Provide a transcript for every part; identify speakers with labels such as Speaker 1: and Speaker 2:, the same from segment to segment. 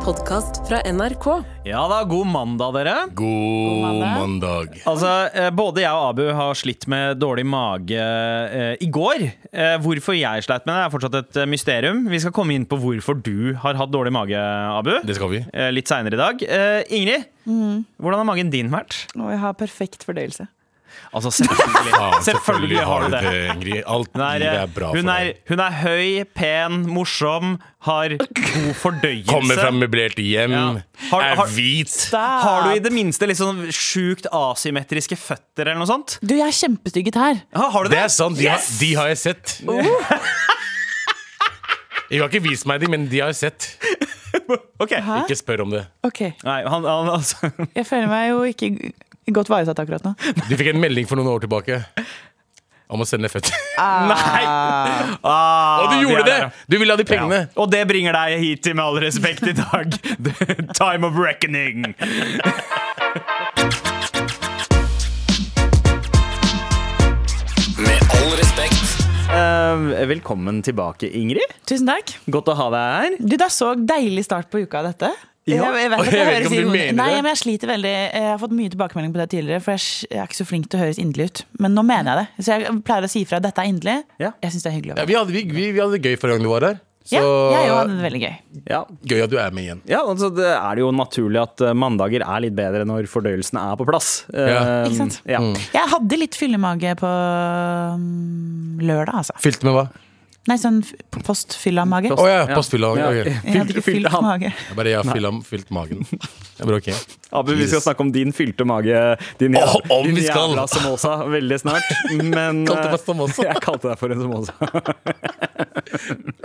Speaker 1: podkast fra NRK.
Speaker 2: Ja da, god mandag, dere.
Speaker 3: God mandag.
Speaker 2: Altså, eh, Både jeg og Abu har slitt med dårlig mage eh, i går. Eh, hvorfor jeg sleit med det, er fortsatt et eh, mysterium. Vi skal komme inn på hvorfor du har hatt dårlig mage, Abu.
Speaker 3: Det skal vi.
Speaker 2: Eh, litt seinere i dag. Eh, Ingrid, hvordan har magen din vært?
Speaker 4: Og jeg har perfekt fordøyelse.
Speaker 2: Altså, selvfølgelig.
Speaker 3: Faen,
Speaker 2: selvfølgelig har du det.
Speaker 3: Ingrid. Alt
Speaker 2: Hun er,
Speaker 3: livet
Speaker 2: eh,
Speaker 3: er bra
Speaker 2: hun,
Speaker 3: for
Speaker 2: er,
Speaker 3: deg.
Speaker 2: hun er høy, pen, morsom, har god fordøyelse.
Speaker 3: Kommer fra møblerte hjem,
Speaker 2: Ja. Har- har-
Speaker 3: er hvit.
Speaker 4: Ah.
Speaker 2: Har du i det minste litt sånn sjukt asymmetriske føtter eller noe sånt?
Speaker 4: Du, jeg er kjempestygget her.
Speaker 2: Ja, har du
Speaker 3: Det
Speaker 2: det?
Speaker 3: er sant, de, har, de har jeg sett.
Speaker 2: Uh.
Speaker 3: Jeg har ikke vist meg de, men de har jeg sett.
Speaker 2: Ok.
Speaker 4: Hæ?
Speaker 3: Ikke spør om det.
Speaker 4: Ok,
Speaker 2: Nei, han, han altså
Speaker 4: Jeg føler meg jo ikke g- godt ivaretatt akkurat nå.
Speaker 3: Du fikk en melding for noen år tilbake om å sende føtter.
Speaker 2: Nei! Ah.
Speaker 3: Og du gjorde det! Du ville ha de pengene.
Speaker 2: Og det bringer deg hit til, med all respekt, i dag. The time of reckoning.
Speaker 5: Med all respekt.
Speaker 2: Ehm, velkommen tilbake, Ingrid.
Speaker 4: Tusen takk.
Speaker 2: Godt å ha deg her.
Speaker 4: Du, Det er så deilig start på uka, dette.
Speaker 2: Ja.
Speaker 4: Jeg, jeg vet
Speaker 3: Og jeg vet
Speaker 4: at det
Speaker 3: ikke
Speaker 4: høres
Speaker 3: om du
Speaker 4: ironi-
Speaker 3: mener det.
Speaker 4: Nei, men jeg sliter veldig. Jeg har fått mye tilbakemelding på det tidligere, for jeg s- jeg er ikke så flink til å høres inderlig ut. Men nå mener jeg det. Så jeg pleier å si ifra at dette er inderlig.
Speaker 2: Ja.
Speaker 4: Jeg syns det er hyggelig. å
Speaker 3: Ja,
Speaker 4: være
Speaker 3: vi, hadde, vi, vi, vi hadde det gøy forrige gang du var her. Så
Speaker 4: ja, jeg jo hadde det veldig gøy.
Speaker 2: Ja,
Speaker 3: gøy at du er med igjen.
Speaker 2: ja altså, det er jo naturlig at eh, mandager er litt bedre når fordøyelsen er på plass.
Speaker 3: Ja.
Speaker 2: Eh,
Speaker 4: Ikke sant?
Speaker 2: Ja.
Speaker 4: Jeg hadde litt fyllemage på mm, lørdag, altså.
Speaker 3: Fylt med hva?
Speaker 4: Nei, sånn f- postfyllamage.
Speaker 3: Å ja, postfylla.
Speaker 2: Ja.
Speaker 3: ok.
Speaker 4: Jeg hadde ikke
Speaker 2: Fylte
Speaker 4: fylt
Speaker 2: han.
Speaker 4: mage.
Speaker 3: Jeg bare jeg har fylla, fylt magen. Det er bra, ok.
Speaker 2: Abu, vi skal
Speaker 3: Jesus.
Speaker 2: snakke om din fylte mage, din, jæv-
Speaker 3: Å, om
Speaker 2: din
Speaker 3: vi skal.
Speaker 2: jævla samosa, veldig snart. Men
Speaker 3: Kalte
Speaker 2: eh,
Speaker 3: meg samosa.
Speaker 2: Jeg kalte deg for en samosa.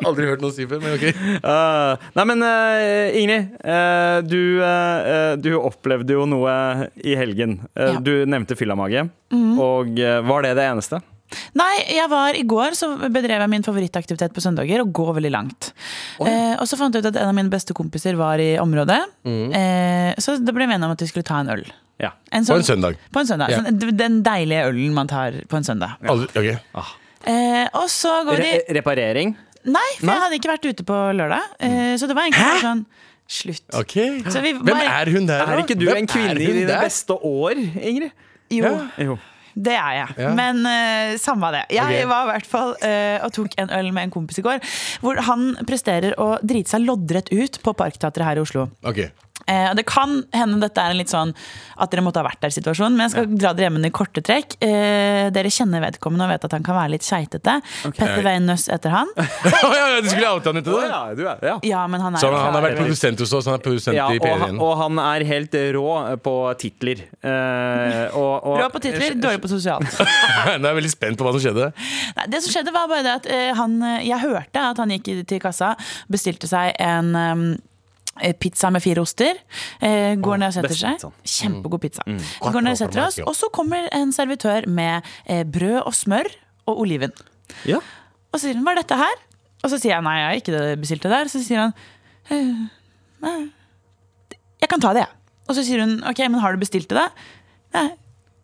Speaker 3: Aldri hørt noe si før, men ok.
Speaker 2: Eh, nei, men eh, Ingrid, eh, du, eh, du opplevde jo noe i helgen. Eh,
Speaker 4: Ja. Mhm.
Speaker 2: Du nevnte fyllamage, og eh, var det det eneste?
Speaker 4: Nei, jeg var i går så bedrev jeg min favorittaktivitet på søndager, å gå veldig langt. Eh, og så fant jeg ut at en av mine beste kompiser var i området.
Speaker 3: Mm.
Speaker 4: Eh, så da ble vi enige om at vi skulle ta en øl.
Speaker 2: Ja.
Speaker 3: På en søndag.
Speaker 4: På en søndag.
Speaker 3: Ja.
Speaker 4: Sånn, d- den deilige ølen man tar på en søndag.
Speaker 3: Aldri, ok.
Speaker 4: Eh, og så går de
Speaker 2: Re reparering?
Speaker 4: Nei, for
Speaker 2: Nei?
Speaker 4: jeg hadde ikke vært ute på lørdag. Eh, så det var egentlig bare sånn Slutt.
Speaker 3: Mm. Ok.
Speaker 4: Så vi
Speaker 3: Hvem
Speaker 4: bare-
Speaker 3: er hun der, da?
Speaker 2: Er ikke du
Speaker 3: Hvem
Speaker 2: en kvinne
Speaker 3: er
Speaker 2: i
Speaker 3: hun
Speaker 2: dine
Speaker 3: der?
Speaker 2: beste år, Ingrid?
Speaker 4: Jo.
Speaker 3: Ja.
Speaker 2: Jo.
Speaker 4: Det er jeg,
Speaker 3: Ja.
Speaker 4: men eh, samme av det. Jeg
Speaker 3: Ok.
Speaker 4: var i hvert fall eh, og tok en øl med en kompis i går. Hvor han presterer å drite seg loddrett ut på Parkteatret her i Oslo.
Speaker 3: Ok.
Speaker 4: Eh, og det kan hende dette er en litt sånn at dere måtte ha vært der-situasjon, men jeg skal dra dere hjem i korte trekk. Eh, dere kjenner vedkommende og vet at han kan være litt keitete. Petter Wein Nøss etter han.
Speaker 3: Å, ja, ja, du skulle outa henne til
Speaker 2: Å,
Speaker 3: det?
Speaker 2: ja, du er, ja.
Speaker 4: Ja, men han er
Speaker 3: Så han, han har vært
Speaker 4: klar over-
Speaker 3: produsent hos oss, han er produsent
Speaker 2: Ja,
Speaker 3: i
Speaker 2: og, han-
Speaker 3: P1.
Speaker 2: og han er helt rå på titler. Eh, og, og,
Speaker 4: Bra på titler, dårlig på sosialt.
Speaker 3: Nå er jeg veldig spent på hva som skjedde.
Speaker 4: Nei, det som skjedde var bare det at eh, han, jeg hørte at han gikk i- til kassa, bestilte seg en em, eh, Pizza med fire oster. Eh, går ned og setter
Speaker 2: best
Speaker 4: seg.
Speaker 2: pizzaen.
Speaker 4: Kjempegod pizza. Går ned og setter oss, og så kommer en servitør med eh, brød og smør og oliven.
Speaker 2: Ja.
Speaker 4: Og så sier hun 'hva er dette her?' Og så sier jeg 'nei, jeg har ikke det bestilte der'. Så sier han «Eh, nei, 'jeg kan ta det, jeg'. Og så sier hun 'ok, men har du bestilt det, da?' Nei.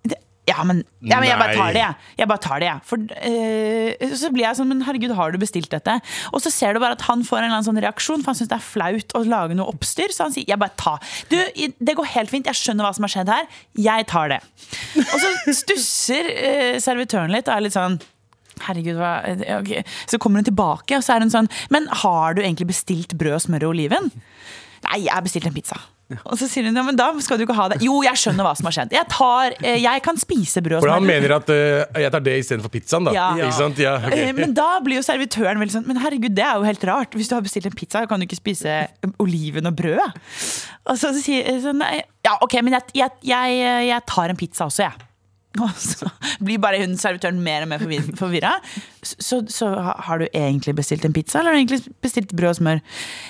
Speaker 4: det- Ja, men, ja, men jeg bare tar det, jeg. Jeg bare tar det, jeg. For, eh, så blir jeg sånn, men herregud, har du bestilt dette? Og så ser du bare at han får en eller annen sånn reaksjon, for han syns det er flaut å lage noe oppstyr. Så han sier 'jeg bare tar'. Du, i- det går helt fint, jeg skjønner hva som har skjedd her. Jeg tar det. Og så stusser eh, servitøren litt og er litt sånn Herregud, hva ja, ok. Så kommer hun tilbake, og så er hun sånn Men har du egentlig bestilt brød, smør og oliven? Nei, jeg har bestilt en pizza. Og så sier hun ja, men da skal du ikke ha det. Jo, jeg skjønner hva som har skjedd. Jeg, tar, eh, jeg kan spise brød og
Speaker 3: For han
Speaker 4: smør.
Speaker 3: mener at eh, jeg tar det istedenfor pizzaen, da.
Speaker 4: Ja.
Speaker 3: Ikke sant? Ja, ok.
Speaker 4: Eh, Men da blir jo servitøren veldig sånn Men herregud, det er jo helt rart. Hvis du har bestilt en pizza, kan du ikke spise oliven og brød? Og så sier jeg sånn nei, Ja, OK, men jeg, jeg, jeg, jeg tar en pizza også, jeg. Og så blir bare hun servitøren mer og mer forvi- forvirra. Så, så ha- har du egentlig bestilt en pizza, eller har du egentlig bestilt brød og smør?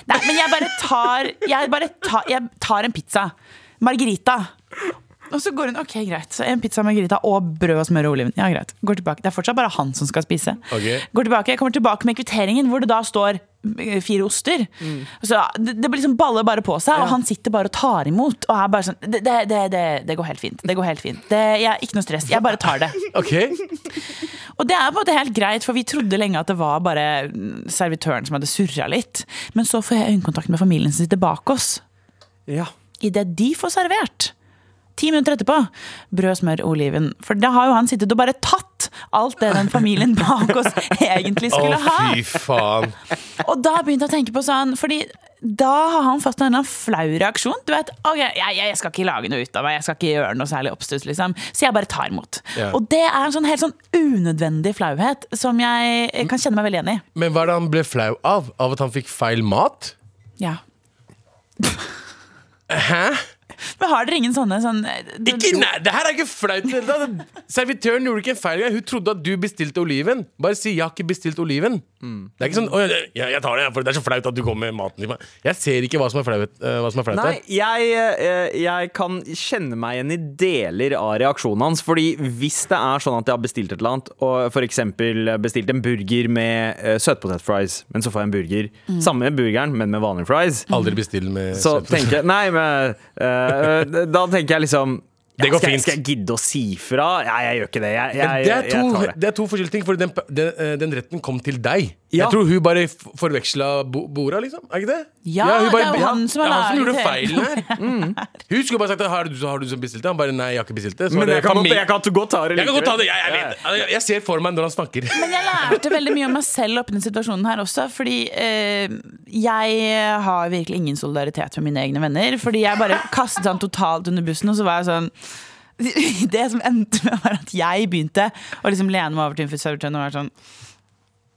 Speaker 4: Nei, men jeg bare tar, jeg bare tar, jeg tar en pizza. Margarita. Og så går hun, ok, greit. Så en pizza margarita og brød og smør og oliven. Ja, greit. Går tilbake. Det er fortsatt bare han som skal spise.
Speaker 3: Ok.
Speaker 4: Går tilbake, kommer tilbake med kvitteringen, hvor det da står eh, fire oster. Så det, det blir liksom baller bare på seg, og han sitter bare og tar imot. Og er bare sånn Det, det, det, det, det går helt fint. Det går helt fint. Det, jeg, ikke noe stress. Jeg bare tar det.
Speaker 3: Ok.
Speaker 4: Og det er på en måte helt greit, for vi trodde lenge at det var bare servitøren som hadde surra litt. Men så får jeg øyekontakt med familien som sitter bak oss,
Speaker 2: Ja.
Speaker 4: idet de får servert. Ti minutter etterpå brød, smør, oliven. For da har jo han sittet og bare tatt alt det den familien bak oss egentlig
Speaker 3: Å,
Speaker 4: skulle ha.
Speaker 3: fy faen.
Speaker 4: Og da begynte jeg å tenke på sånn Fordi da har han fått en eller annen flau reaksjon. Du vet, ok, jeg, jeg skal ikke lage noe ut av meg, jeg skal ikke gjøre noe særlig oppstuss. Liksom. Så jeg bare tar imot.
Speaker 3: Ja.
Speaker 4: Og det er en sånn helt sånn unødvendig flauhet som jeg kan kjenne meg veldig igjen i.
Speaker 3: Men hva er det han ble flau av? Av at han fikk feil mat?
Speaker 4: Ja.
Speaker 3: Hæ?
Speaker 4: Men har dere ingen sånne sånn
Speaker 3: Ikke, nei, det her er ikke flaut. i det hele tatt. Servitøren gjorde ikke en feil. engang. Hun trodde at du bestilte oliven. Bare si 'jeg har ikke bestilt oliven'. Det er ikke sånn «Å, jeg, jeg tar det, for det er så flaut at du kommer med maten til meg. Jeg ser ikke hva som er flaut, eh, hva som er flaut
Speaker 2: Nei,
Speaker 3: her.
Speaker 2: jeg, eh, jeg kan kjenne meg igjen i deler av reaksjonen hans. Fordi hvis det er sånn at jeg har bestilt et eller annet, og f.eks. bestilt en burger med eh, søtpotetfries, men så får jeg en burger Samme burgeren, men med vanlige fries.
Speaker 3: Aldri bestill med
Speaker 2: Så
Speaker 3: søt-
Speaker 2: tenker jeg Nei, men eh, eh, Da tenker jeg liksom
Speaker 3: Det går
Speaker 2: skal, jeg-
Speaker 3: fint.
Speaker 2: skal jeg gidde å si fra? Nei, jeg gjør ikke det. Jeg,
Speaker 3: Men
Speaker 2: jeg,
Speaker 3: det, er
Speaker 2: jeg,
Speaker 3: to,
Speaker 2: tar det.
Speaker 3: det er to forskjellige ting, for den, den, eh, den retten kom til deg.
Speaker 2: Ja.
Speaker 3: Jeg tror hun bare f- forveksla bo, borda, liksom. Er ikke det?
Speaker 4: Ja,
Speaker 3: hun bare-
Speaker 4: det er jo han som har
Speaker 3: det er han som
Speaker 4: laget
Speaker 3: gjorde
Speaker 4: hele
Speaker 3: feilen her. Mm. Hun skulle bare sagt har du, har du som bestilte? Han bare nei, jeg har ikke bestilt det. Så var
Speaker 2: Men
Speaker 3: det
Speaker 2: jeg kan, godt,
Speaker 3: familie-
Speaker 2: jeg kan godt ta det
Speaker 3: jeg kan godt ta det. Jeg,
Speaker 2: Ja,
Speaker 3: jeg,
Speaker 2: ja.
Speaker 3: vet det. jeg, jeg ser for meg når han snakker.
Speaker 4: Men jeg lærte veldig mye om meg selv oppi den situasjonen her også. Fordi eh, jeg har virkelig ingen solidaritet med mine egne venner. Fordi jeg bare kastet han totalt under bussen, og så var jeg sånn Det som endte med, var at jeg begynte å liksom lene meg over til servitøren og være sånn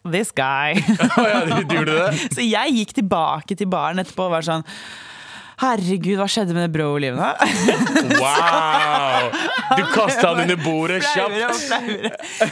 Speaker 4: This guy.
Speaker 3: Å ja, du, du gjorde det?
Speaker 4: Så jeg gikk tilbake til baren etterpå og var sånn Herregud, hva skjedde med det brå oliven her?
Speaker 3: Wow! Du kasta han under bordet kjapt.
Speaker 4: Flauere og flauere.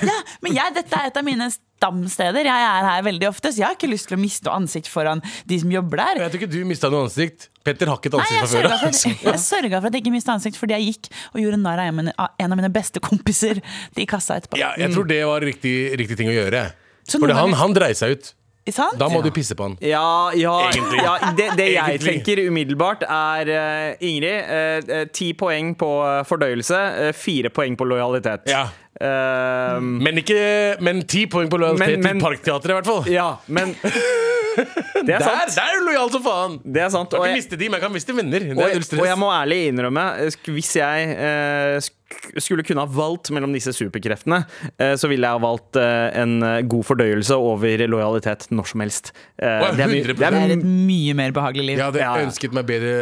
Speaker 4: Ja, men jeg, dette er et av mine stamsteder. Jeg er her veldig ofte, så jeg har ikke lyst til å miste ansikt foran de som jobber der.
Speaker 3: Jeg tror ikke du mista noe ansikt. Petter har ikke et
Speaker 4: Nei, jeg
Speaker 3: ansikt fra
Speaker 4: sørga
Speaker 3: før. altså.
Speaker 4: for, at- jeg sørget for at jeg ikke mista ansikt, fordi jeg gikk og gjorde narr av en av mine- av en av mine beste kompiser i kassa etterpå.
Speaker 3: Ja, jeg tror det var riktig, riktig ting å gjøre.
Speaker 4: Så
Speaker 3: For
Speaker 4: noen
Speaker 3: han,
Speaker 4: ganger-
Speaker 3: han dreier seg ut.
Speaker 4: Ikke sant?
Speaker 3: Da må du pisse på han.
Speaker 2: Ja, ja,
Speaker 3: Egentlig.
Speaker 2: ja Det, det jeg
Speaker 3: Egentlig.
Speaker 2: tenker umiddelbart, er eh, Ingrid, eh, eh, ti poeng på eh, fordøyelse, eh, fire poeng på lojalitet.
Speaker 3: Ja. Mm.
Speaker 2: Eh,
Speaker 3: Men, ikke, men ti poeng på lojalitet
Speaker 2: Men- men-
Speaker 3: til Parkteatret, i hvert fall.
Speaker 2: ja, men Det er
Speaker 3: Der,
Speaker 2: sant.
Speaker 3: der er du lojal som faen!
Speaker 2: Det er sant.
Speaker 3: Jeg
Speaker 2: Og
Speaker 3: kan ikke
Speaker 2: jeg,
Speaker 3: miste de, men jeg kan miste venner. Det
Speaker 2: og,
Speaker 3: er
Speaker 2: jeg,
Speaker 3: null stress.
Speaker 2: og jeg må ærlig innrømme, eh, sk- hvis jeg eh, sk- skulle kunne ha valgt mellom disse superkreftene, eh, så ville jeg ha valgt eh, en eh, god fordøyelse over lojalitet når som helst. Eh,
Speaker 3: Å,
Speaker 2: det er mye-
Speaker 3: 100%.
Speaker 2: det er
Speaker 4: Det er
Speaker 2: mye-
Speaker 4: et mye mer behagelig liv.
Speaker 3: Jeg hadde
Speaker 2: Ja, ja.
Speaker 3: ønsket meg bedre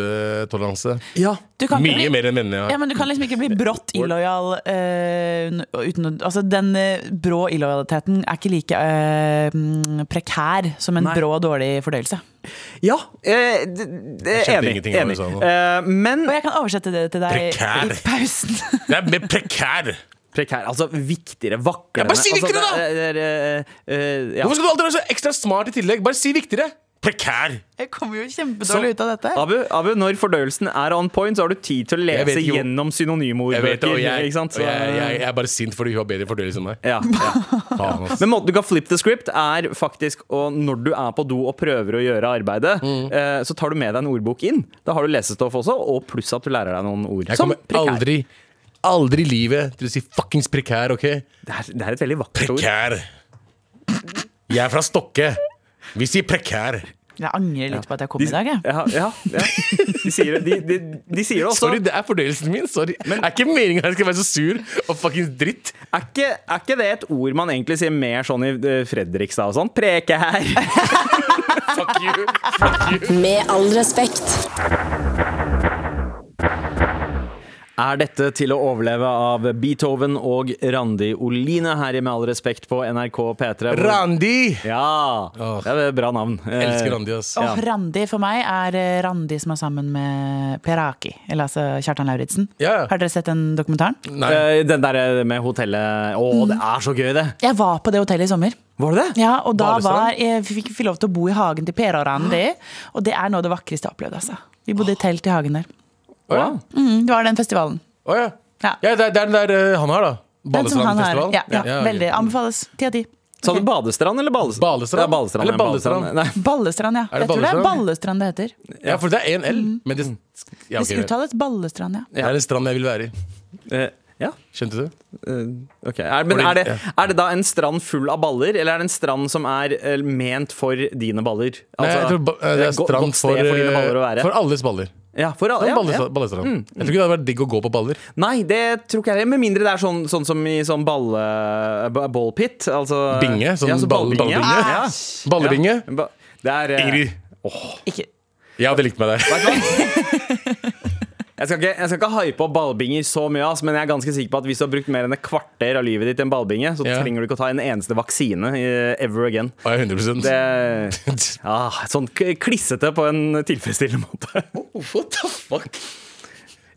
Speaker 3: laktosetoleranse.
Speaker 2: Ja.
Speaker 4: Du kan ikke
Speaker 3: Mye
Speaker 4: bli-
Speaker 3: mer enn vennene jeg
Speaker 4: Ja,
Speaker 3: har.
Speaker 4: men Du kan liksom ikke bli brått illojal eh, n- uten å Altså, den eh, brå illojaliteten er ikke like eh, mm, prekær som en
Speaker 2: Nei.
Speaker 4: brå og dårlig fordøyelse.
Speaker 2: Ja, eh, d- d-
Speaker 3: skjønte
Speaker 2: enig.
Speaker 3: ingenting av det
Speaker 2: enig.
Speaker 3: du sa nå.
Speaker 2: Eh, men
Speaker 4: Og jeg kan oversette det til deg
Speaker 3: Prekær.
Speaker 4: i pausen.
Speaker 3: Det er mer prekær!
Speaker 2: Prekær, altså viktigere, vaklende
Speaker 3: Ja, bare si viktigere,
Speaker 2: altså,
Speaker 3: da!
Speaker 2: det- det- det- eh, ja.
Speaker 3: Hvorfor skal du alltid være så ekstra smart i tillegg? Bare si viktigere! Prekær!
Speaker 4: Jeg kommer jo kjempedårlig ut av dette.
Speaker 2: Abu, Abu, når fordøyelsen er on point, så har du tid til å
Speaker 3: Jeg
Speaker 2: lese
Speaker 3: vet ikke hvor-
Speaker 2: gjennom
Speaker 3: Jeg vet det,
Speaker 2: synonymordbøker.
Speaker 3: og jeg,
Speaker 2: ikke sant?
Speaker 3: og
Speaker 2: Så- eh,
Speaker 3: jeg, jeg, jeg er bare sint fordi hun har bedre fordøyelse enn meg.
Speaker 2: ja, ja.
Speaker 3: Faen, ass.
Speaker 2: Men måten du kan flip the script, er faktisk å, når du er på do og prøver å gjøre arbeidet, eh, så tar du med deg en ordbok inn. Da har du lesestoff også, og pluss at du lærer deg noen ord.
Speaker 3: Jeg
Speaker 2: Som
Speaker 3: kommer
Speaker 2: prekær.
Speaker 3: aldri, aldri i livet til å si fuckings prekær, OK?
Speaker 2: Det, er, det er et veldig vakkert ord.
Speaker 3: Prekær. Jeg er fra Stokke. Vi sier prekær.
Speaker 4: Jeg angrer litt på at jeg kom i dag. Jeg.
Speaker 2: Ja, ja, ja. De, sier det, de, de, de sier det også.
Speaker 3: Sorry, det er fordøyelsen min. Sorry. er ikke meninga jeg skal være så sur og fuckings dritt.
Speaker 2: Er ikke, er ikke det et ord man egentlig sier mer sånn i eh, Fredrikstad og sånn? Preke her!
Speaker 3: Fuck you. Fuck you.
Speaker 1: Med all respekt.
Speaker 2: Er dette til å overleve av Beethoven og Randi Oline her i Med all respekt på NRK P3? hvor-
Speaker 3: Randi!
Speaker 2: Ja!
Speaker 3: Åh.
Speaker 2: Det er et bra navn.
Speaker 3: Jeg elsker Randi, ass.
Speaker 4: Og
Speaker 2: Ja.
Speaker 4: Randi for meg er eh, Randi som er sammen med Per Aki, eller altså Kjartan Lauritzen.
Speaker 3: Ja, ja.
Speaker 4: Har dere sett den dokumentaren?
Speaker 3: Nei. Mm.
Speaker 2: Eh, Den der med hotellet Å, det er så gøy, det!
Speaker 4: Jeg var på det hotellet i sommer.
Speaker 2: Var det det?
Speaker 4: Ja, og da var,
Speaker 3: Balestrand?
Speaker 4: jeg fikk vi lov til å bo i hagen til Per og Randi. Og det er noe av det vakreste jeg har opplevd. Altså. Vi bodde i telt i hagen der.
Speaker 2: Wow.
Speaker 4: Mm, det var den festivalen.
Speaker 3: Å ja.
Speaker 4: Ja.
Speaker 3: ja. Det er det er den der eh, han har, da.
Speaker 4: Den som han har.
Speaker 3: Balestrandfestivalen.
Speaker 4: Ja, ja,
Speaker 3: ok.
Speaker 4: veldig. Anbefales. Ti av ti.
Speaker 2: Sa du badestrand eller balestrand?
Speaker 3: Balestrand.
Speaker 2: Ja, balestrand
Speaker 3: Eller
Speaker 2: ja, balestrand.
Speaker 3: Ballestrand.
Speaker 2: Nei.
Speaker 4: Ballestrand, ja.
Speaker 3: Er det
Speaker 4: jeg tror det er
Speaker 3: Ballestrand?
Speaker 4: Ballestrand det heter.
Speaker 3: Ja, for det er én L, men det, ja,
Speaker 4: Det
Speaker 3: ok,
Speaker 4: uttales Ballestrand, ja.
Speaker 3: det er en strand jeg vil være i.
Speaker 2: Eh, Ja.
Speaker 3: Skjønte du?
Speaker 2: Eh, ok. er, men er det, er det da en strand full av baller, eller er det en strand som er eh, ment for dine baller? Altså,
Speaker 3: Nei, jeg tror ba- eh, det
Speaker 2: et
Speaker 3: er
Speaker 2: go-
Speaker 3: strand
Speaker 2: godt sted
Speaker 3: for, eh,
Speaker 2: for dine baller å være.
Speaker 3: for alles baller.
Speaker 2: ja, for alle.
Speaker 3: Ja,
Speaker 2: Ja, ja.
Speaker 3: Ballestrand. Jeg tror ikke det hadde vært digg å gå på baller.
Speaker 2: Nei, det tror ikke jeg heller. Med mindre det er sånn, sånn som i sånn balle... ba- Ballpit. Altså
Speaker 3: Binge, sånn
Speaker 2: så
Speaker 3: ball-
Speaker 2: ballbinge.
Speaker 3: ballbinge.
Speaker 2: Ja.
Speaker 3: Ballebinge.
Speaker 2: Ja. Ba- Det er eh,
Speaker 3: Ingrid,
Speaker 4: Ikke
Speaker 3: jeg hadde likt meg der.
Speaker 2: Vet du hva? Jeg skal, ikke, jeg skal ikke hype opp ballbinger så mye, ass, men jeg er ganske sikker på at hvis du har brukt mer enn et kvarter av livet ditt i en ballbinge, så
Speaker 3: Ja.
Speaker 2: trenger du ikke å ta en eneste vaksine eh, ever again.
Speaker 3: Å, jeg er 100
Speaker 2: Det, ja, sånn k- klissete på en tilfredsstillende måte.
Speaker 3: What the fuck?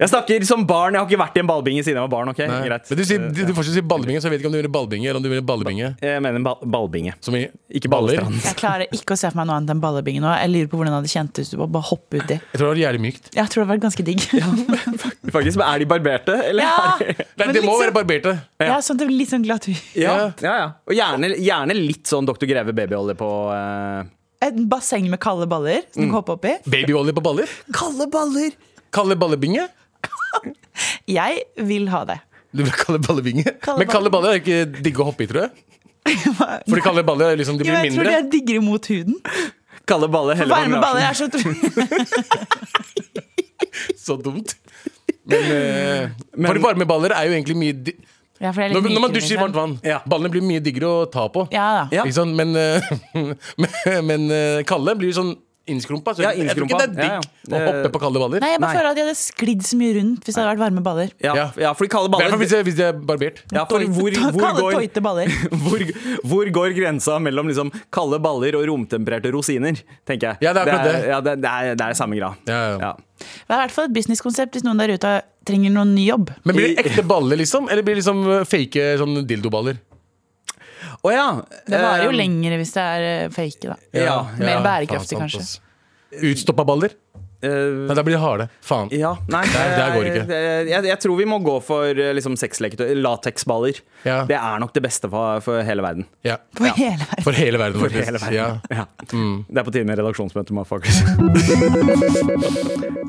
Speaker 2: Jeg snakker som barn. Jeg har ikke vært i en ballbinge siden jeg var barn. ok? Greit.
Speaker 3: Men du, sier, du, du fortsatt sier ballebinge, så jeg vet ikke om du mener ballebinge eller om du mener ballebinge.
Speaker 2: Eh, Jeg mener ball ballbinge.
Speaker 3: Som i
Speaker 2: Ikke
Speaker 3: baller.
Speaker 2: ballestrand.
Speaker 4: Jeg klarer ikke å se for meg noe annet enn ballebinge nå. Jeg lurer på hvordan det hadde kjentes ut å bare hoppe uti.
Speaker 3: Jeg tror det var jævlig mykt.
Speaker 4: Jeg tror det hadde vært ganske digg. Ja,
Speaker 2: Faktisk, men Er de barberte, eller?
Speaker 4: Ja.
Speaker 2: er de-
Speaker 3: Nei,
Speaker 4: Men
Speaker 3: det må
Speaker 4: liksom-
Speaker 3: være barberte.
Speaker 4: ja sånn at det blir litt sånn glatt
Speaker 2: ja. ja, ja. Og gjerne, gjerne litt sånn Dr. Greve babyolje på eh,
Speaker 4: Et basseng med kalde baller
Speaker 3: Mm.
Speaker 4: som du kan hoppe oppi.
Speaker 3: Babyolje på baller.
Speaker 2: Kalde baller!
Speaker 3: Kalle ballebinge.
Speaker 4: Jeg vil ha det.
Speaker 3: Du vil kalle ballebinge.
Speaker 4: Kalle
Speaker 3: Men kalle baller er ikke digg å hoppe i, tror jeg. Fordi kalle baller er liksom, de
Speaker 4: Jo,
Speaker 3: blir
Speaker 4: jeg tror det
Speaker 3: mindre.
Speaker 4: er digger imot huden.
Speaker 2: Kalde baller heller
Speaker 4: Varme baller er så
Speaker 3: Så dumt. Men, eh,
Speaker 2: Men-
Speaker 3: fordi varme baller er jo egentlig mye di
Speaker 4: ja, for det er litt
Speaker 3: når, når man
Speaker 4: mykere,
Speaker 3: dusjer i
Speaker 4: liksom.
Speaker 3: varmt vann,
Speaker 2: Ja.
Speaker 3: ballene blir mye diggere å ta på.
Speaker 4: Ja da.
Speaker 2: Ja.
Speaker 3: Ikke sant? Men, eh, men, men eh, Kalle blir sånn innskrumpa, så
Speaker 2: Ja,
Speaker 3: jeg tror ikke det er
Speaker 2: innskrumpa.
Speaker 3: digg
Speaker 2: Ja, ja.
Speaker 3: å hoppe på kalde baller.
Speaker 4: Nei, jeg bare
Speaker 2: Nei.
Speaker 4: føler at jeg hadde sklidd så mye rundt hvis det hadde vært varme baller.
Speaker 2: Ja,
Speaker 3: Ja.
Speaker 2: ja, fordi kalde
Speaker 3: I hvert fall
Speaker 2: baller
Speaker 3: hvis det- hvis de er barbert.
Speaker 2: ja, for
Speaker 4: Tøyte-
Speaker 2: hvor, hvor,
Speaker 4: Kalde,
Speaker 2: går,
Speaker 4: tøyte baller.
Speaker 2: hvor, hvor går grensa mellom liksom kalde baller og romtempererte rosiner, tenker jeg.
Speaker 3: Ja, det er akkurat det.
Speaker 2: Ja, det, det, er, det er samme grad.
Speaker 3: Ja, ja.
Speaker 4: Det er i hvert fall et businesskonsept hvis noen der ute trenger noen ny jobb.
Speaker 3: Men blir det ekte baller, liksom? Eller blir det liksom eh, fake sånn dildoballer?
Speaker 2: Å ja.
Speaker 4: Det varer
Speaker 3: Um,
Speaker 4: jo
Speaker 2: eh,
Speaker 4: lengre hvis det er eh, fake, da.
Speaker 2: Ja,
Speaker 4: Mer bærekraftig, kanskje.
Speaker 3: ass. Utstoppa baller?
Speaker 2: eh,
Speaker 3: Nei, da blir det harde. Faen.
Speaker 2: ja, nei
Speaker 3: Der- der går det ikke.
Speaker 2: det- Jeg, jeg tror vi må gå for eh, liksom, sexleketøy. Lateksballer.
Speaker 3: Ja.
Speaker 2: Det er nok det beste for, for hele verden.
Speaker 3: Ja.
Speaker 4: For hele verden.
Speaker 3: For hele verden,
Speaker 2: For hele verden.
Speaker 3: Ja.
Speaker 2: Ja.
Speaker 3: Mm.
Speaker 2: Det er på tide med redaksjonsmøte, motherfuckers.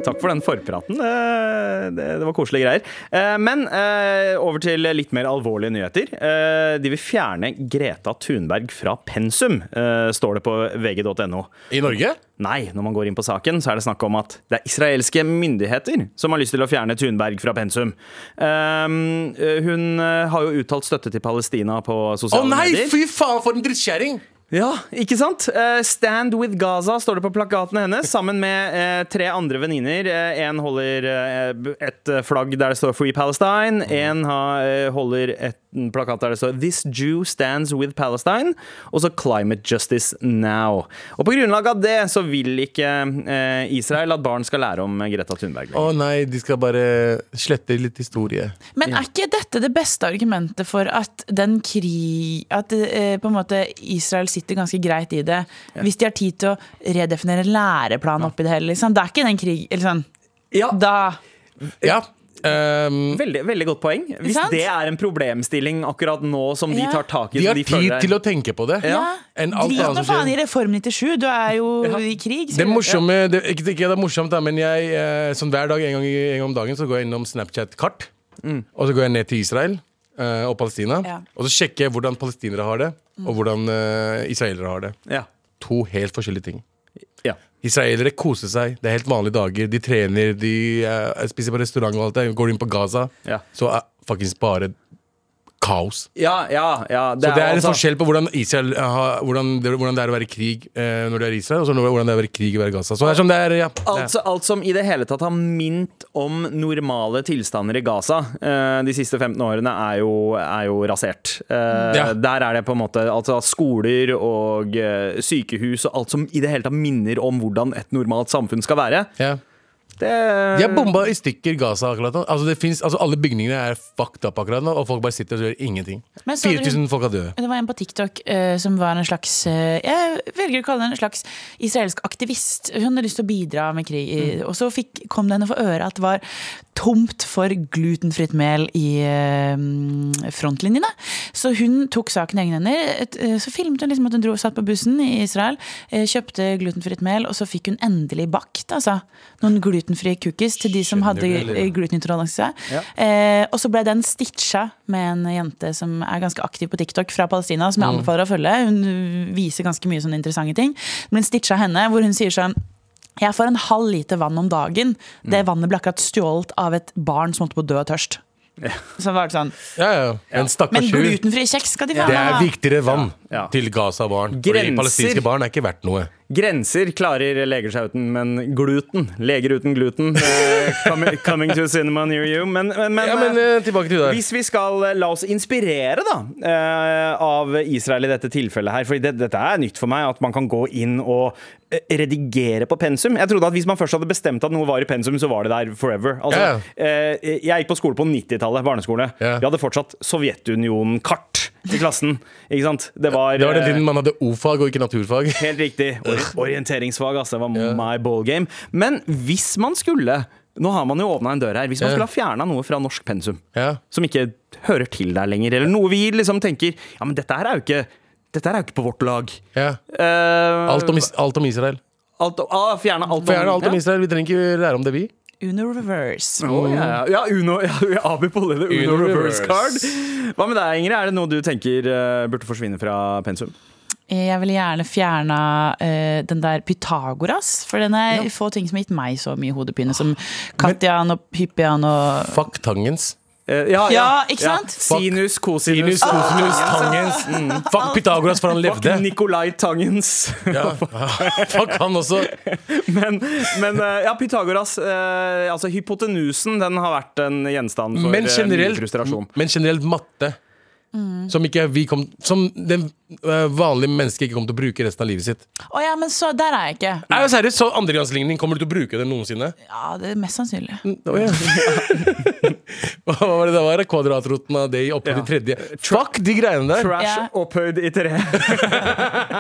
Speaker 2: Takk for den forpraten. Eh, Det, det var koselige greier. Eh, Men eh, over til litt mer alvorlige nyheter. Eh, De vil fjerne Greta Thunberg fra pensum, eh, står det på vg.no.
Speaker 3: I Norge?
Speaker 2: Nei, når man går inn på saken, så er det snakk om at det er israelske myndigheter som har lyst til å fjerne Thunberg fra pensum. Ehm, eh, hun eh, har jo uttalt støtte til Palestina på
Speaker 3: Å
Speaker 2: sosiale
Speaker 3: nei,
Speaker 2: medier.
Speaker 3: fy faen, for en drittkjerring!
Speaker 2: Ja, ikke sant? Eh, Stand with Gaza står det på plakatene hennes, sammen med eh, tre andre venninner. Én holder eh, b- et eh, flagg der det står Free Palestine. Én holder et, en plakat der det står This Jew stands with Palestine. Og så Climate Justice Now. Og på grunnlag av det så vil ikke eh, Israel at barn skal lære om Greta Thunberg.
Speaker 3: Å nei, de skal bare slette litt historie.
Speaker 4: Men er ikke dette det beste argumentet for at den krig At eh, på en måte Israel sitter ganske greit i det, hvis de har tid til å redefinere læreplanen oppi det hele? Liksom. Det er ikke den krig... Eller sånn.
Speaker 2: Ja,
Speaker 4: Da
Speaker 3: Ja. ehm,
Speaker 2: veldig, veldig godt poeng. Hvis
Speaker 4: sant?
Speaker 2: det er en problemstilling akkurat nå som de
Speaker 4: Ja.
Speaker 2: tar tak i
Speaker 3: de har
Speaker 2: som føler
Speaker 3: tid
Speaker 2: er-
Speaker 3: til å tenke på det.
Speaker 4: ja.
Speaker 3: Enn alt
Speaker 4: Drit
Speaker 3: annet
Speaker 4: nå
Speaker 3: som
Speaker 4: faen i
Speaker 3: skjer.
Speaker 4: Reform 97, du er jo i krig. så-
Speaker 3: Det morsomme det, Ikke ikke det er morsomt, da, men jeg eh, sånn hver dag en gang, i- en gang om dagen så går jeg innom Snapchat-kart. Og så går jeg ned til Israel eh, og Palestina.
Speaker 4: Ja.
Speaker 3: Og så sjekker jeg hvordan palestinere har det, og hvordan eh, israelere har det.
Speaker 2: Ja.
Speaker 3: To helt forskjellige ting.
Speaker 2: Ja.
Speaker 3: Israelere koser seg. Det er helt vanlige dager. De trener, de eh, spiser på restaurant og alt det. Går du inn på Gaza,
Speaker 2: Ja.
Speaker 3: så er faktisk bare kaos.
Speaker 2: Ja, ja, ja.
Speaker 3: Så det er en
Speaker 2: altså-
Speaker 3: forskjell på hvordan, Israel, har- hvordan, det, hvordan det er å være i krig eh, når du er i Israel, og så hvordan det er å være i krig og være i Gaza. Så det er som det er, ja.
Speaker 2: Altså, alt som i det hele tatt har mint om normale tilstander i Gaza eh, de siste 15 årene, er jo, er jo rasert. Eh,
Speaker 3: Ja.
Speaker 2: Der er det på en måte altså, skoler og eh, sykehus og alt som i det hele tatt minner om hvordan et normalt samfunn skal være.
Speaker 3: ja.
Speaker 2: Det,
Speaker 3: De har bomba i stykker Gaza akkurat nå. Altså, det finnes, altså, alle bygningene er fucked up akkurat nå, og folk bare sitter og gjør ingenting.
Speaker 4: Men så dere-
Speaker 3: 4000 folk er døde.
Speaker 4: Det var en på TikTok eh, som var en slags eh, Jeg velger å kalle henne en slags
Speaker 3: Mm.
Speaker 4: israelsk aktivist. Hun hadde lyst til å bidra med krig. i- Og så fikk, kom det henne for øre at det var tomt for glutenfritt mel i eh, frontlinjene. Så hun tok saken i egne hender. Et- eh, Så filmet hun liksom at hun dro og satt på bussen i Israel, eh, kjøpte glutenfritt mel, og så fikk hun endelig bakt altså, noen glutenfrie cookies til de som
Speaker 3: Skjønner
Speaker 4: hadde
Speaker 3: du, eller?
Speaker 4: eh, glutenintoleranse.
Speaker 2: Ja.
Speaker 4: Eh, og så ble den stitcha med en jente som er ganske aktiv på TikTok fra Palestina, som jeg anbefaler å følge. Hun øh, viser ganske mye sånne interessante ting. Det ble en stitcha av henne, hvor hun sier sånn Jeg får en halv liter vann om dagen. Det vannet ble akkurat stjålet av et barn som holdt på å dø av tørst. Så det var sånn
Speaker 3: Ja, ja. En
Speaker 4: Men
Speaker 3: stakkars hund.
Speaker 4: glutenfri kjeks skal de få!
Speaker 3: Det er viktigere vann
Speaker 2: Ja.
Speaker 3: til Gaza-barn. Fordi
Speaker 2: Grenser.
Speaker 3: palestinske barn er ikke verdt noe.
Speaker 2: Grenser klarer leger seg uten, men gluten Leger uten gluten. eh, coming, coming to a cinema near you. Men, men, men,
Speaker 3: Ja, men eh, tilbake til deg.
Speaker 2: Hvis vi skal eh, la oss inspirere da, eh, av Israel i dette tilfellet her, for det, dette er nytt for meg, at man kan gå inn og eh, redigere på pensum. Jeg trodde at hvis man først hadde bestemt at noe var i pensum, så var det der forever. Altså, eh, jeg gikk på skole på 90-tallet, barneskole.
Speaker 3: Ja.
Speaker 2: Vi hadde fortsatt Sovjetunionen-kart i klassen, ikke sant? Det var,
Speaker 3: Det var den
Speaker 2: eh,
Speaker 3: tiden man hadde o-fag og ikke naturfag.
Speaker 2: Helt riktig. Ori- Orienteringsfag, altså. Det var my ball game. Men hvis man skulle Nå har man jo åpna en dør her. Hvis man
Speaker 3: Ja.
Speaker 2: skulle ha fjerna noe fra norsk pensum
Speaker 3: Ja.
Speaker 2: som ikke hører til der lenger, eller noe vi liksom tenker Ja, men dette her er jo ikke dette her er jo ikke på vårt lag.
Speaker 3: Ja.
Speaker 2: Eh,
Speaker 3: Alt, om, is- alt om Israel.
Speaker 2: alt om- ah, Fjerne alt om
Speaker 3: For gjerne alt om
Speaker 2: ja.
Speaker 3: Israel. Vi trenger ikke lære om det, vi.
Speaker 4: Uno reverse.
Speaker 2: Å, ja, ja. ja, Uno, ja, Abu Polle, det Uno,
Speaker 3: Uno
Speaker 2: reverse
Speaker 3: reverse.
Speaker 2: card. Hva med deg, Ingrid? Er det noe du tenker eh, burde forsvinne fra pensum?
Speaker 4: Jeg ville gjerne fjerna eh, den der Pythagoras, for den er få ting som har gitt meg så mye hodepine, som Katjan og Hyppian og
Speaker 3: Fuck tangens. Ah,
Speaker 2: Eh,
Speaker 4: Ja, ikke sant? Fuck.
Speaker 2: Sinus,
Speaker 3: Sinus,
Speaker 2: cosinus,
Speaker 3: kosinus, tangens. Mm. Fuck Pythagoras, for han levde.
Speaker 2: Fuck Nicolai Tangens.
Speaker 3: Ja. Fuck han også.
Speaker 2: Men, men eh, ja, Pythagoras, eh, altså hypotenusen, den har vært en gjenstand for
Speaker 3: Men
Speaker 2: eh, mye
Speaker 3: generelt,
Speaker 2: frustrasjon.
Speaker 3: men generelt matte. Som, ikke vi kom, som den eh, vanlige mennesket ikke kommer til å bruke resten av livet sitt.
Speaker 2: Mm.
Speaker 4: Å ja, men så der er jeg ikke.
Speaker 3: Nei, men seriøst, så Andregangsligning, kommer du til å bruke det noensinne?
Speaker 4: Ja, det er mest sannsynlig.
Speaker 3: Å, ja. Hva var det det var? Kvadratroten av det i oppe
Speaker 2: Ja.
Speaker 3: til tredje. Fuck de greiene der!
Speaker 2: Trash
Speaker 4: Ja.
Speaker 2: opphøyd i tre.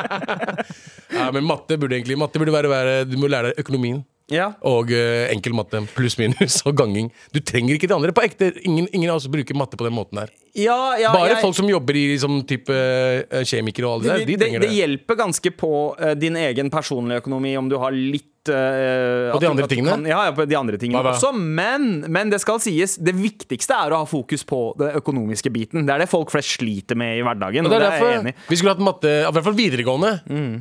Speaker 3: Ja, men matte burde egentlig Matte burde være, være Du må lære deg økonomien
Speaker 2: ja.
Speaker 3: og eh, enkel matte. Pluss, minus og ganging. Du trenger ikke det andre. På ekte, ingen, ingen av oss bruker matte på den måten her.
Speaker 2: Ja, ja,
Speaker 3: Bare
Speaker 2: jeg-
Speaker 3: folk som jobber i liksom, type eh, kjemikere og alle
Speaker 2: det,
Speaker 3: det der, de
Speaker 2: det,
Speaker 3: trenger
Speaker 2: det
Speaker 3: det.
Speaker 2: hjelper ganske på eh, din egen personlige økonomi om du har litt eh,
Speaker 3: På de
Speaker 2: at-
Speaker 3: andre
Speaker 2: at du
Speaker 3: tingene?
Speaker 2: Kan, ja, ja, på de andre tingene
Speaker 3: Hva da?
Speaker 2: også. Men, men det skal sies, det viktigste er å ha fokus på den økonomiske biten. Det er det folk flest sliter med i hverdagen.
Speaker 3: Og det er
Speaker 2: jeg
Speaker 3: derfor
Speaker 2: enig i. Mm.
Speaker 3: vi skulle hatt matte, i hvert fall videregående,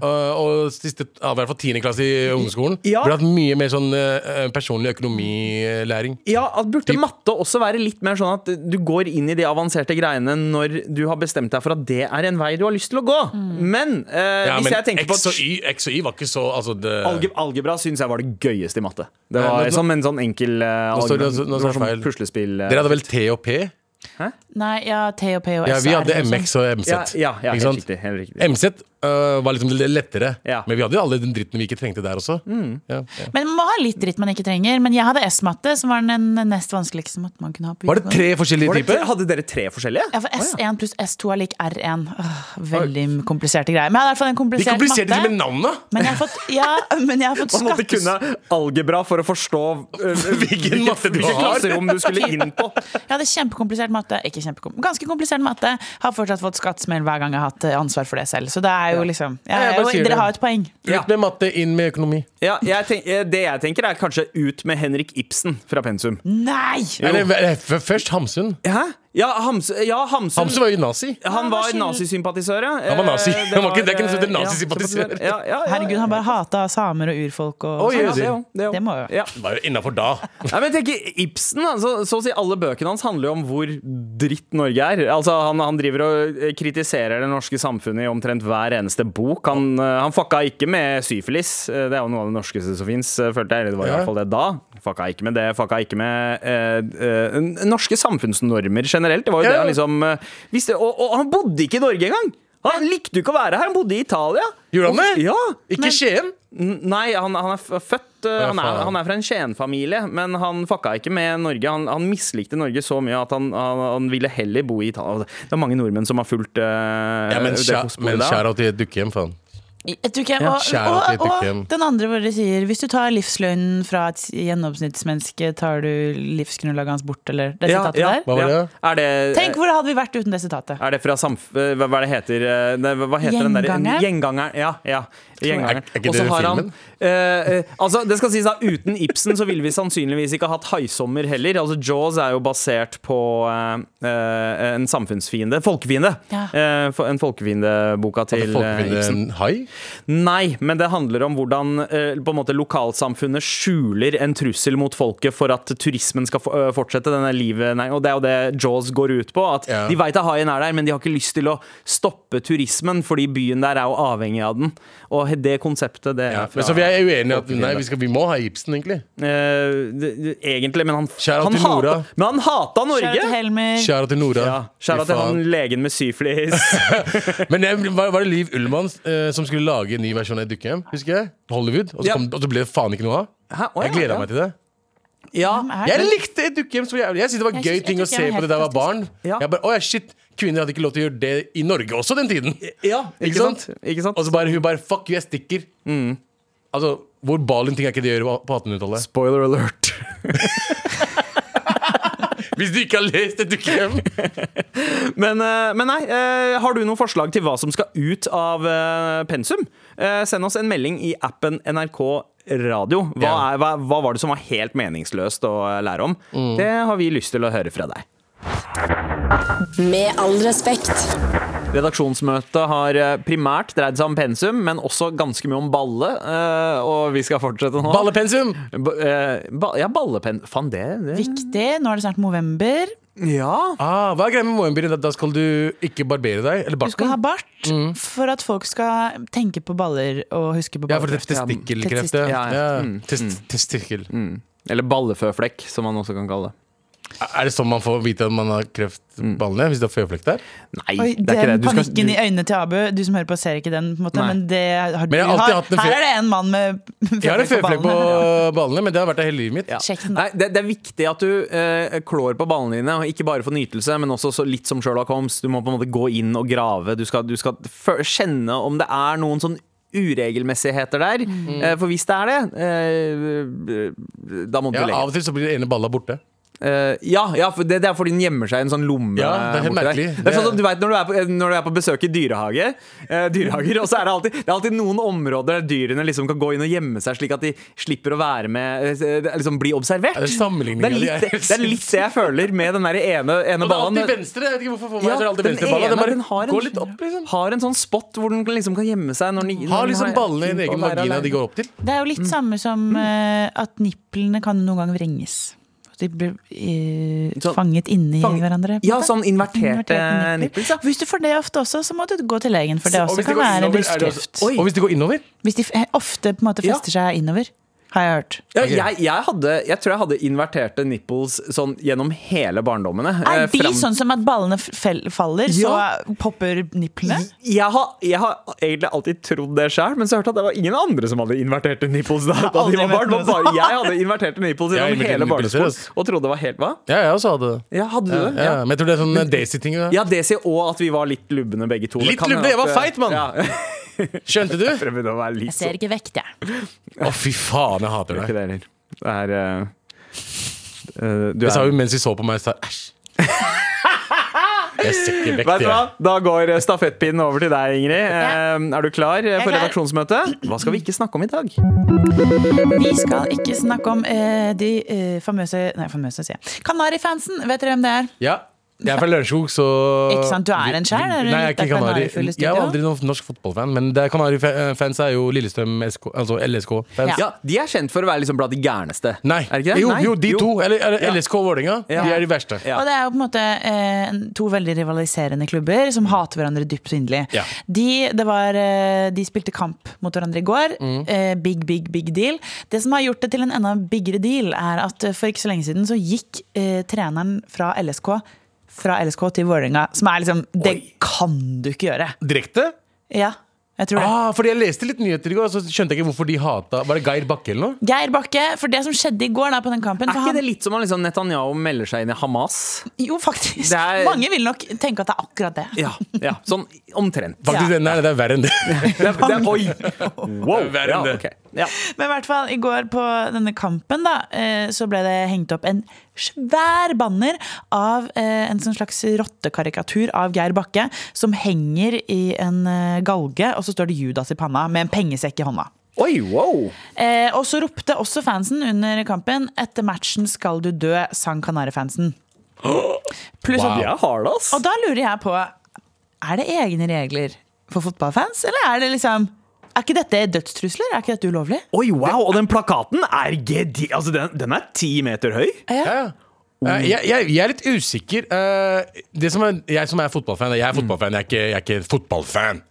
Speaker 3: og, og siste, ja, i hvert fall tiende klasse i ungdomsskolen.
Speaker 2: Ja.
Speaker 3: Burde hatt mye mer sånn eh, personlig økonomilæring.
Speaker 2: Ja, at Burde matte også være litt mer sånn at du går inn i de avanserte greiene når du har bestemt deg for at det er en vei du har lyst til å gå? Men eh,
Speaker 3: Ja,
Speaker 2: hvis
Speaker 3: men
Speaker 2: jeg tenker på
Speaker 3: X og
Speaker 2: at
Speaker 3: Y, X og Y var ikke så altså det,
Speaker 2: alge, algebra syns jeg var det gøyeste i matte. Det
Speaker 3: Ja,
Speaker 2: var
Speaker 3: Eh, nå-
Speaker 2: som en sånn enkel eh,
Speaker 3: står
Speaker 2: algebra.
Speaker 3: det- nå står det
Speaker 2: det var
Speaker 3: feil.
Speaker 2: sånn puslespill. eh,
Speaker 3: Dere hadde vel T og P?
Speaker 4: Nei, ja, T og P og
Speaker 3: Ja,
Speaker 4: S
Speaker 3: vi
Speaker 4: er
Speaker 3: hadde
Speaker 4: liksom-
Speaker 3: MX og MZ.
Speaker 2: sånn- ja, ja, ja,
Speaker 3: ikke
Speaker 2: helt
Speaker 3: sant?
Speaker 2: riktig. Helt riktig.
Speaker 3: MZ øh, var liksom litt lettere,
Speaker 2: Ja. Mm.
Speaker 3: men vi hadde jo alle den dritten vi ikke trengte der også. Ja, ja.
Speaker 4: Men man må ha litt dritt man ikke trenger. Men jeg hadde S-matte, som var den nest vanskeligste matten man kunne ha. på
Speaker 3: Var det
Speaker 4: videregående.
Speaker 3: tre forskjellige
Speaker 2: Var det tre,
Speaker 3: typer?
Speaker 2: hadde dere tre forskjellige?
Speaker 4: Ja, for S1 pluss S2 er lik R1. Åh, veldig kompliserte greier. Men jeg hadde i hvert fall en
Speaker 3: De
Speaker 4: komplisert
Speaker 3: kompliserte ikke med
Speaker 4: matte.
Speaker 3: navnet!
Speaker 4: Men jeg har fått, ja, men jeg har fått
Speaker 2: Man måtte
Speaker 4: skattes...
Speaker 2: kunne algebra for å forstå eh, hvilken
Speaker 3: matte du
Speaker 2: hvilket
Speaker 3: har.
Speaker 2: klasserom du skulle inn på.
Speaker 4: Jeg hadde kjempekomplisert matte. Ikke kjempekom ganske komplisert matte. Har fortsatt fått skattesmell hver gang jeg har hatt eh, ansvar for det selv. Så det er jo liksom jeg,
Speaker 3: Ja, jeg
Speaker 4: er
Speaker 3: bare
Speaker 4: jo-
Speaker 3: sier det.
Speaker 4: Dere har et poeng.
Speaker 2: Ja.
Speaker 3: Ut med matte, inn med økonomi.
Speaker 2: Ja, jeg tenk, eh, det jeg tenker, er kanskje ut med Henrik Ibsen fra pensum.
Speaker 4: Nei!
Speaker 3: Eller, eh, f- først Hamsun.
Speaker 2: Hæ? Ja, Hams, ja Hamsun.
Speaker 3: Hamsun var jo nazi.
Speaker 2: Han
Speaker 4: var
Speaker 2: var
Speaker 4: skil-
Speaker 2: nazisympatisør, ja.
Speaker 3: Han var nazi.
Speaker 2: Eh,
Speaker 3: Han var ikke- det er ikke noe som heter
Speaker 2: eh, ja,
Speaker 3: nazisympatisør.
Speaker 2: Ja, ja, ja,
Speaker 4: Herregud, han bare hata samer og urfolk og sånn.
Speaker 2: ja,
Speaker 3: Jøsing.
Speaker 2: det, jo, det, jo.
Speaker 4: Det må jo.
Speaker 2: Ja.
Speaker 3: Det var jo innafor da.
Speaker 2: Nei, men jeg tenker Ibsen, altså, så å si alle bøkene hans handler jo om hvor dritt Norge er. Altså, han, han driver og eh, kritiserer det norske samfunnet i omtrent hver eneste bok. Han, eh, han fucka ikke med syfilis, eh, det er jo noe av det norskeste som fins, følte jeg. Eller det var i
Speaker 3: Ja.
Speaker 2: hvert fall det da. Fucka ikke med det, fucka ikke med eh, eh, n- norske samfunnsnormer generelt. Det var jo
Speaker 3: Ja.
Speaker 2: det han liksom eh, visste. Og, og han bodde ikke i Norge engang! Han likte jo ikke å være her, han bodde i Italia.
Speaker 3: Gjorde han det?
Speaker 2: Ja
Speaker 3: Ikke Skien.
Speaker 2: N- Nei, han, han er f- født uh,
Speaker 3: ja,
Speaker 2: han, er,
Speaker 3: faen.
Speaker 2: han er fra en Skien-familie, men han fucka ikke med Norge. Han, han mislikte Norge så mye at han, han, han ville heller Altså, bo i Italia. Det er mange nordmenn som har fulgt uh,
Speaker 3: Ja, men
Speaker 2: det
Speaker 3: kjæ-
Speaker 2: fotsporet
Speaker 3: men
Speaker 2: der.
Speaker 3: kjære til et dukkehjem, faen.
Speaker 4: Jeg tror ikke jeg,
Speaker 2: Ja,
Speaker 4: og,
Speaker 3: shout out til
Speaker 4: og, og,
Speaker 3: Etterkrem.
Speaker 4: den andre våre sier Hvis du tar livsløgnen fra et gjennomsnittsmenneske, tar du livsgrunnlaget hans bort, eller det
Speaker 2: Ja,
Speaker 4: sitatet
Speaker 2: ja,
Speaker 4: der?
Speaker 3: Hva var det?
Speaker 2: Er det
Speaker 4: Tenk hvor hadde vi vært uten det sitatet?
Speaker 2: Er det fra samf... eh, Hva hva er det heter eh, nei, Hva hva heter den der
Speaker 4: Gjengangeren?
Speaker 2: Gjengangeren. Ja. ja
Speaker 3: Er-
Speaker 2: Gjengangeren.
Speaker 3: er ikke
Speaker 2: Og så
Speaker 3: det
Speaker 2: har han
Speaker 3: filmen?
Speaker 2: eh, eh, Altså, det skal sies da, uten Ibsen så ville vi sannsynligvis ikke hatt Haisommer heller. Altså, Jaws er jo basert på eh, eh, en samfunnsfiende. Folkefiende.
Speaker 4: Ja.
Speaker 2: Eh, fo- en folkefiendeboka til
Speaker 3: Hadde
Speaker 2: eh,
Speaker 3: folk villet
Speaker 2: Ibsen.
Speaker 3: en hai?
Speaker 2: Nei, men det handler om hvordan eh, på en måte lokalsamfunnet skjuler en trussel mot folket for at turismen skal få- øh, fortsette. denne livet. Nei, og Det er jo det Jaws går ut på. at
Speaker 3: Ja.
Speaker 2: De veit at haien er der, men de har ikke lyst til å stoppe turismen, fordi byen der er jo avhengig av den. Og he- det konseptet, det
Speaker 3: Ja,
Speaker 2: er
Speaker 3: men
Speaker 2: fra
Speaker 3: så vi er uenige i at nei, vi, skal, vi må ha Ibsen, egentlig.
Speaker 2: Eh, det- det- Egentlig, men han,
Speaker 3: Shout out
Speaker 2: han
Speaker 3: til Nora.
Speaker 2: hata- Men han hata Norge!
Speaker 4: Kjære til Helmer.
Speaker 3: Kjære til Nora.
Speaker 2: Ja, Skjæra
Speaker 3: Fy
Speaker 2: til
Speaker 3: faen.
Speaker 2: han legen med syflis.
Speaker 3: Men jeg, var, var det Liv Ullmann eh, som skulle lage en ny versjon av Dukkehjem? Husker jeg? Hollywood. Og så,
Speaker 2: Ja.
Speaker 3: kom, og så ble det faen ikke noe av.
Speaker 2: Hæ? Å,
Speaker 3: Jeg gleda
Speaker 2: ja.
Speaker 3: meg til det.
Speaker 2: Ja.
Speaker 4: Hvem er
Speaker 3: Jeg
Speaker 4: det?
Speaker 3: likte Dukkehjem så jævlig. Jeg synes det var
Speaker 4: Jeg
Speaker 3: gøy
Speaker 4: synes- jeg
Speaker 3: ting å
Speaker 4: synes
Speaker 3: se
Speaker 4: det var
Speaker 3: på det da jeg var
Speaker 4: helt
Speaker 3: barn.
Speaker 2: Ja.
Speaker 3: Jeg bare, Å ja, shit, Kvinner hadde ikke lov til å gjøre det i Norge også den tiden.
Speaker 2: ja,
Speaker 3: Ikke sant?
Speaker 2: Ikke sant?
Speaker 3: Og så bare hun bare Fuck you, jeg stikker.
Speaker 2: Mm.
Speaker 3: Altså, Hvor Balin ting er ikke det å gjøre på 1800-tallet?
Speaker 2: Spoiler alert.
Speaker 3: Hvis du ikke har lest et Dukkehjem!
Speaker 2: Men, eh, men nei, eh, har du noen forslag til hva som skal ut av eh, pensum? Eh, Send oss en melding i appen NRK Radio. Hva,
Speaker 3: Ja.
Speaker 2: er, hva, hva var det som var helt meningsløst å eh, lære om? Det har vi lyst til å høre fra deg.
Speaker 1: Med all respekt.
Speaker 2: Redaksjonsmøtet har eh, primært dreid seg om pensum, men også ganske mye om balle. eh, Og vi skal fortsette nå.
Speaker 3: Ballepensum!
Speaker 2: Ba- eh, ba- ja, ballepen... Faen, det, det.
Speaker 4: Viktig. Nå er det snart november.
Speaker 2: Ja.
Speaker 3: Ah, hva er greia med Moenbyen? Da- Da skal du ikke barbere deg? Eller
Speaker 4: Du skal ha
Speaker 3: barten?
Speaker 4: bart for at folk skal tenke på baller og huske på
Speaker 3: Ja, for det
Speaker 4: baller.
Speaker 3: er testikkelkreft.
Speaker 4: testikkel.
Speaker 2: Ja,
Speaker 3: Ja,
Speaker 2: ja. Mm.
Speaker 3: Test- Testikkel.
Speaker 2: Eller balleføflekk, som man også kan kalle det.
Speaker 3: Er det sånn man får vite at man har
Speaker 2: Mm.
Speaker 3: kreftballene? Hvis du har føflekk der?
Speaker 2: Nei,
Speaker 4: Oi,
Speaker 2: det er ikke det.
Speaker 4: den
Speaker 2: Du skal-
Speaker 4: panikken
Speaker 2: du-
Speaker 4: i øynene til Abu Du som hører på, ser ikke den, på en måte,
Speaker 2: Nei.
Speaker 4: men det har du
Speaker 3: Men jeg har alltid hatt en fe-
Speaker 4: Her er det en mann med
Speaker 3: Jeg har en føflekk på
Speaker 4: ballene.
Speaker 3: ballene, men det har vært der hele livet mitt.
Speaker 2: Ja.
Speaker 4: Sjekk den, da.
Speaker 2: Nei, det, det er viktig at du eh, klår på ballene dine, og ikke bare for nytelse, men også så litt som Sherlock Holmes. Du må på en måte gå inn og grave. Du skal, du skal fø- kjenne om det er noen sånn uregelmessigheter der. Eh, for hvis det er det, eh, da må du
Speaker 3: Ja,
Speaker 2: legge
Speaker 3: av og til så blir den ene balla borte.
Speaker 2: Eh, ja, ja, for det, det er fordi den gjemmer seg i en sånn lomme.
Speaker 3: Ja, det er helt
Speaker 2: borti der.
Speaker 3: merkelig.
Speaker 2: Det er sånn som du vet, når, du er på, når du er på besøk i dyrehage, eh, dyrehager, og så er det alltid, det er alltid noen områder der dyrene liksom kan gå inn og gjemme seg, slik at de slipper å være med eh, det er liksom bli observert.
Speaker 3: Ja, det er sammenligningen,
Speaker 2: Det er
Speaker 3: ja,
Speaker 2: litt
Speaker 3: det er
Speaker 2: det, det er litt det jeg føler med den der ene, ene
Speaker 3: Og det er
Speaker 2: ballen.
Speaker 3: alltid venstre! Jeg vet ikke hvorfor for
Speaker 2: Ja,
Speaker 3: meg så er det alltid
Speaker 2: den
Speaker 3: venstre balla.
Speaker 2: ene,
Speaker 3: Den bare
Speaker 2: den har en-
Speaker 3: går litt opp, liksom.
Speaker 2: Har en sånn spot hvor den liksom kan gjemme seg. Når den,
Speaker 3: Har liksom ballene en egen vagina de går opp til.
Speaker 4: Det er jo
Speaker 2: Mm.
Speaker 4: litt samme som eh, at nipplene kan noen gang vrenges. De blir eh,
Speaker 2: Sånn-
Speaker 4: fanget inni
Speaker 2: Fanget-
Speaker 4: hverandre. på en
Speaker 2: Ja,
Speaker 4: måte.
Speaker 2: sånn inverterte
Speaker 4: Inverterte nipler.
Speaker 2: nipples, ja.
Speaker 4: Hvis du får det ofte også, så må du gå til legen, for det
Speaker 3: Så- og
Speaker 4: også
Speaker 3: hvis det
Speaker 4: kan
Speaker 3: går
Speaker 4: være
Speaker 3: innover, er det også-
Speaker 4: brystkkreft.
Speaker 2: Oi.
Speaker 3: Og hvis det går innover
Speaker 4: Hvis de f- eh, ofte på en måte
Speaker 2: Ja.
Speaker 4: fester seg innover, har jeg hørt.
Speaker 2: Ja,
Speaker 3: Ok.
Speaker 2: jeg, jeg, hadde, jeg tror jeg hadde inverterte nipples sånn gjennom hele barndommen. jeg.
Speaker 4: Er
Speaker 2: Eh,
Speaker 4: de
Speaker 2: fram-
Speaker 4: sånn som at ballene f- fell- faller,
Speaker 2: Ja. Mm.
Speaker 4: så popper nipplene?
Speaker 2: Jeg har, jeg har egentlig alltid trodd det sjøl, men så hørte jeg at det var ingen andre som hadde inverterte nipples da, da de
Speaker 4: aldri
Speaker 2: var barn. Det
Speaker 4: vært
Speaker 2: var bare jeg hadde inverterte nipples
Speaker 3: Jeg har
Speaker 2: gjennom
Speaker 3: inverterte
Speaker 2: hele
Speaker 3: nipples,
Speaker 2: barneskolen
Speaker 3: seriøst.
Speaker 2: og trodde det var helt Hva?
Speaker 3: Ja, jeg også hadde det.
Speaker 2: Ja, hadde du
Speaker 3: Ja,
Speaker 2: det? Ja.
Speaker 3: ja, Men jeg tror det er sånn eh, Daisy-ting. ja.
Speaker 2: Ja, det sier òg at vi var litt lubne begge to. Det
Speaker 3: Litt
Speaker 2: kan hende
Speaker 3: lubne? Jeg
Speaker 2: at,
Speaker 3: var
Speaker 2: eh,
Speaker 3: feit, mann.
Speaker 2: Ja.
Speaker 3: Skjønte du? Å,
Speaker 2: Prøvde å være litt sånn.
Speaker 4: ikke vekt, jeg.
Speaker 3: fy faen, jeg hater
Speaker 2: Ikke det
Speaker 3: deg.
Speaker 2: heller. Det er eh, eh, Du
Speaker 3: Det sa
Speaker 2: er
Speaker 3: hun mens hun så på meg og sa æsj. Jeg ser ikke vekk
Speaker 2: Vet du
Speaker 3: det.
Speaker 2: hva? Da går eh, stafettpinnen over til deg, Ingrid. Eh, Er du klar eh, for
Speaker 4: klar.
Speaker 2: redaksjonsmøte? Hva skal vi ikke snakke om i dag?
Speaker 4: Vi skal ikke snakke om eh, de eh, famøse Nei, famøse, sier jeg. Kanarifansen, vet dere hvem det er?
Speaker 3: Ja. Jeg er fra Lørenskog, så
Speaker 4: Ikke sant, du er en sjæl, er du
Speaker 3: Nei, jeg er
Speaker 4: litt
Speaker 3: ikke
Speaker 4: av
Speaker 3: kanari.
Speaker 4: kanarifull i
Speaker 3: Jeg er
Speaker 4: studio?
Speaker 3: aldri noen norsk fotballfan, men det er Kanari-fans er jo Lillestrøm SK, altså LSK-fans.
Speaker 4: Ja.
Speaker 2: Ja, De er kjent for å være liksom blant de gærneste.
Speaker 3: Nei.
Speaker 2: Er det ikke det?
Speaker 3: Jo,
Speaker 2: Nei.
Speaker 3: jo, de to. Eller, eller
Speaker 2: Ja.
Speaker 3: LSK og Vålerenga.
Speaker 2: Ja.
Speaker 3: De er de verste.
Speaker 2: Ja.
Speaker 4: Og det er jo på en måte eh, to veldig rivaliserende klubber som hater hverandre dypt inderlig.
Speaker 3: Ja.
Speaker 4: De, det var, eh, de spilte kamp mot hverandre i går.
Speaker 2: Mm.
Speaker 4: Eh, big, big, big deal. Det som har gjort det til en enda biggere deal, er at eh, for ikke så lenge siden så gikk eh, treneren fra LSK fra LSK til Vålerenga, som er liksom Det kan du ikke gjøre!
Speaker 3: Direkte?
Speaker 4: Ja. Jeg tror det.
Speaker 3: Ah, fordi jeg leste litt nyheter i går, så skjønte jeg ikke hvorfor de hata Var det Geir Bakke eller noe?
Speaker 4: Geir Bakke, for det som skjedde i går da på den kampen
Speaker 2: Er
Speaker 4: for
Speaker 2: ikke
Speaker 4: han,
Speaker 2: det litt som om liksom Netanyahu melder seg inn i Hamas?
Speaker 4: Jo, faktisk.
Speaker 2: Det er-
Speaker 4: Mange vil nok tenke at det er akkurat det.
Speaker 2: Ja, ja sånn omtrent.
Speaker 3: Faktisk,
Speaker 4: Ja.
Speaker 3: den der, det er verre enn det.
Speaker 2: Det er, det er, oi! Wow!
Speaker 3: Verre
Speaker 2: Ja,
Speaker 3: enn det.
Speaker 2: ok. ja.
Speaker 4: Men i hvert fall, i går på denne kampen da, eh, så ble det hengt opp en svær banner av eh, en sånn slags rottekarikatur av Geir Bakke, som henger i en eh, galge, og så står det Judas i panna med en pengesekk i hånda.
Speaker 2: Oi, wow!
Speaker 4: Eh, og så ropte også fansen under kampen 'Etter matchen skal du dø', sang Kanarifansen. Pluss at
Speaker 3: Wow.
Speaker 2: Jeg har det, ass.
Speaker 4: Og da lurer jeg på Er det egne regler for fotballfans, eller er det liksom Er ikke dette dødstrusler? Er ikke dette ulovlig?
Speaker 2: Oi, wow! Og den plakaten er gedi... Altså, den, den er ti meter høy.
Speaker 3: Ja, ja. Eh,
Speaker 2: Mm.
Speaker 3: Jeg, jeg, jeg er litt usikker. Eh, Det som er, jeg som er fotballfan Jeg er
Speaker 2: Mm.
Speaker 3: fotballfan, jeg er ikke, jeg er ikke fotballfan.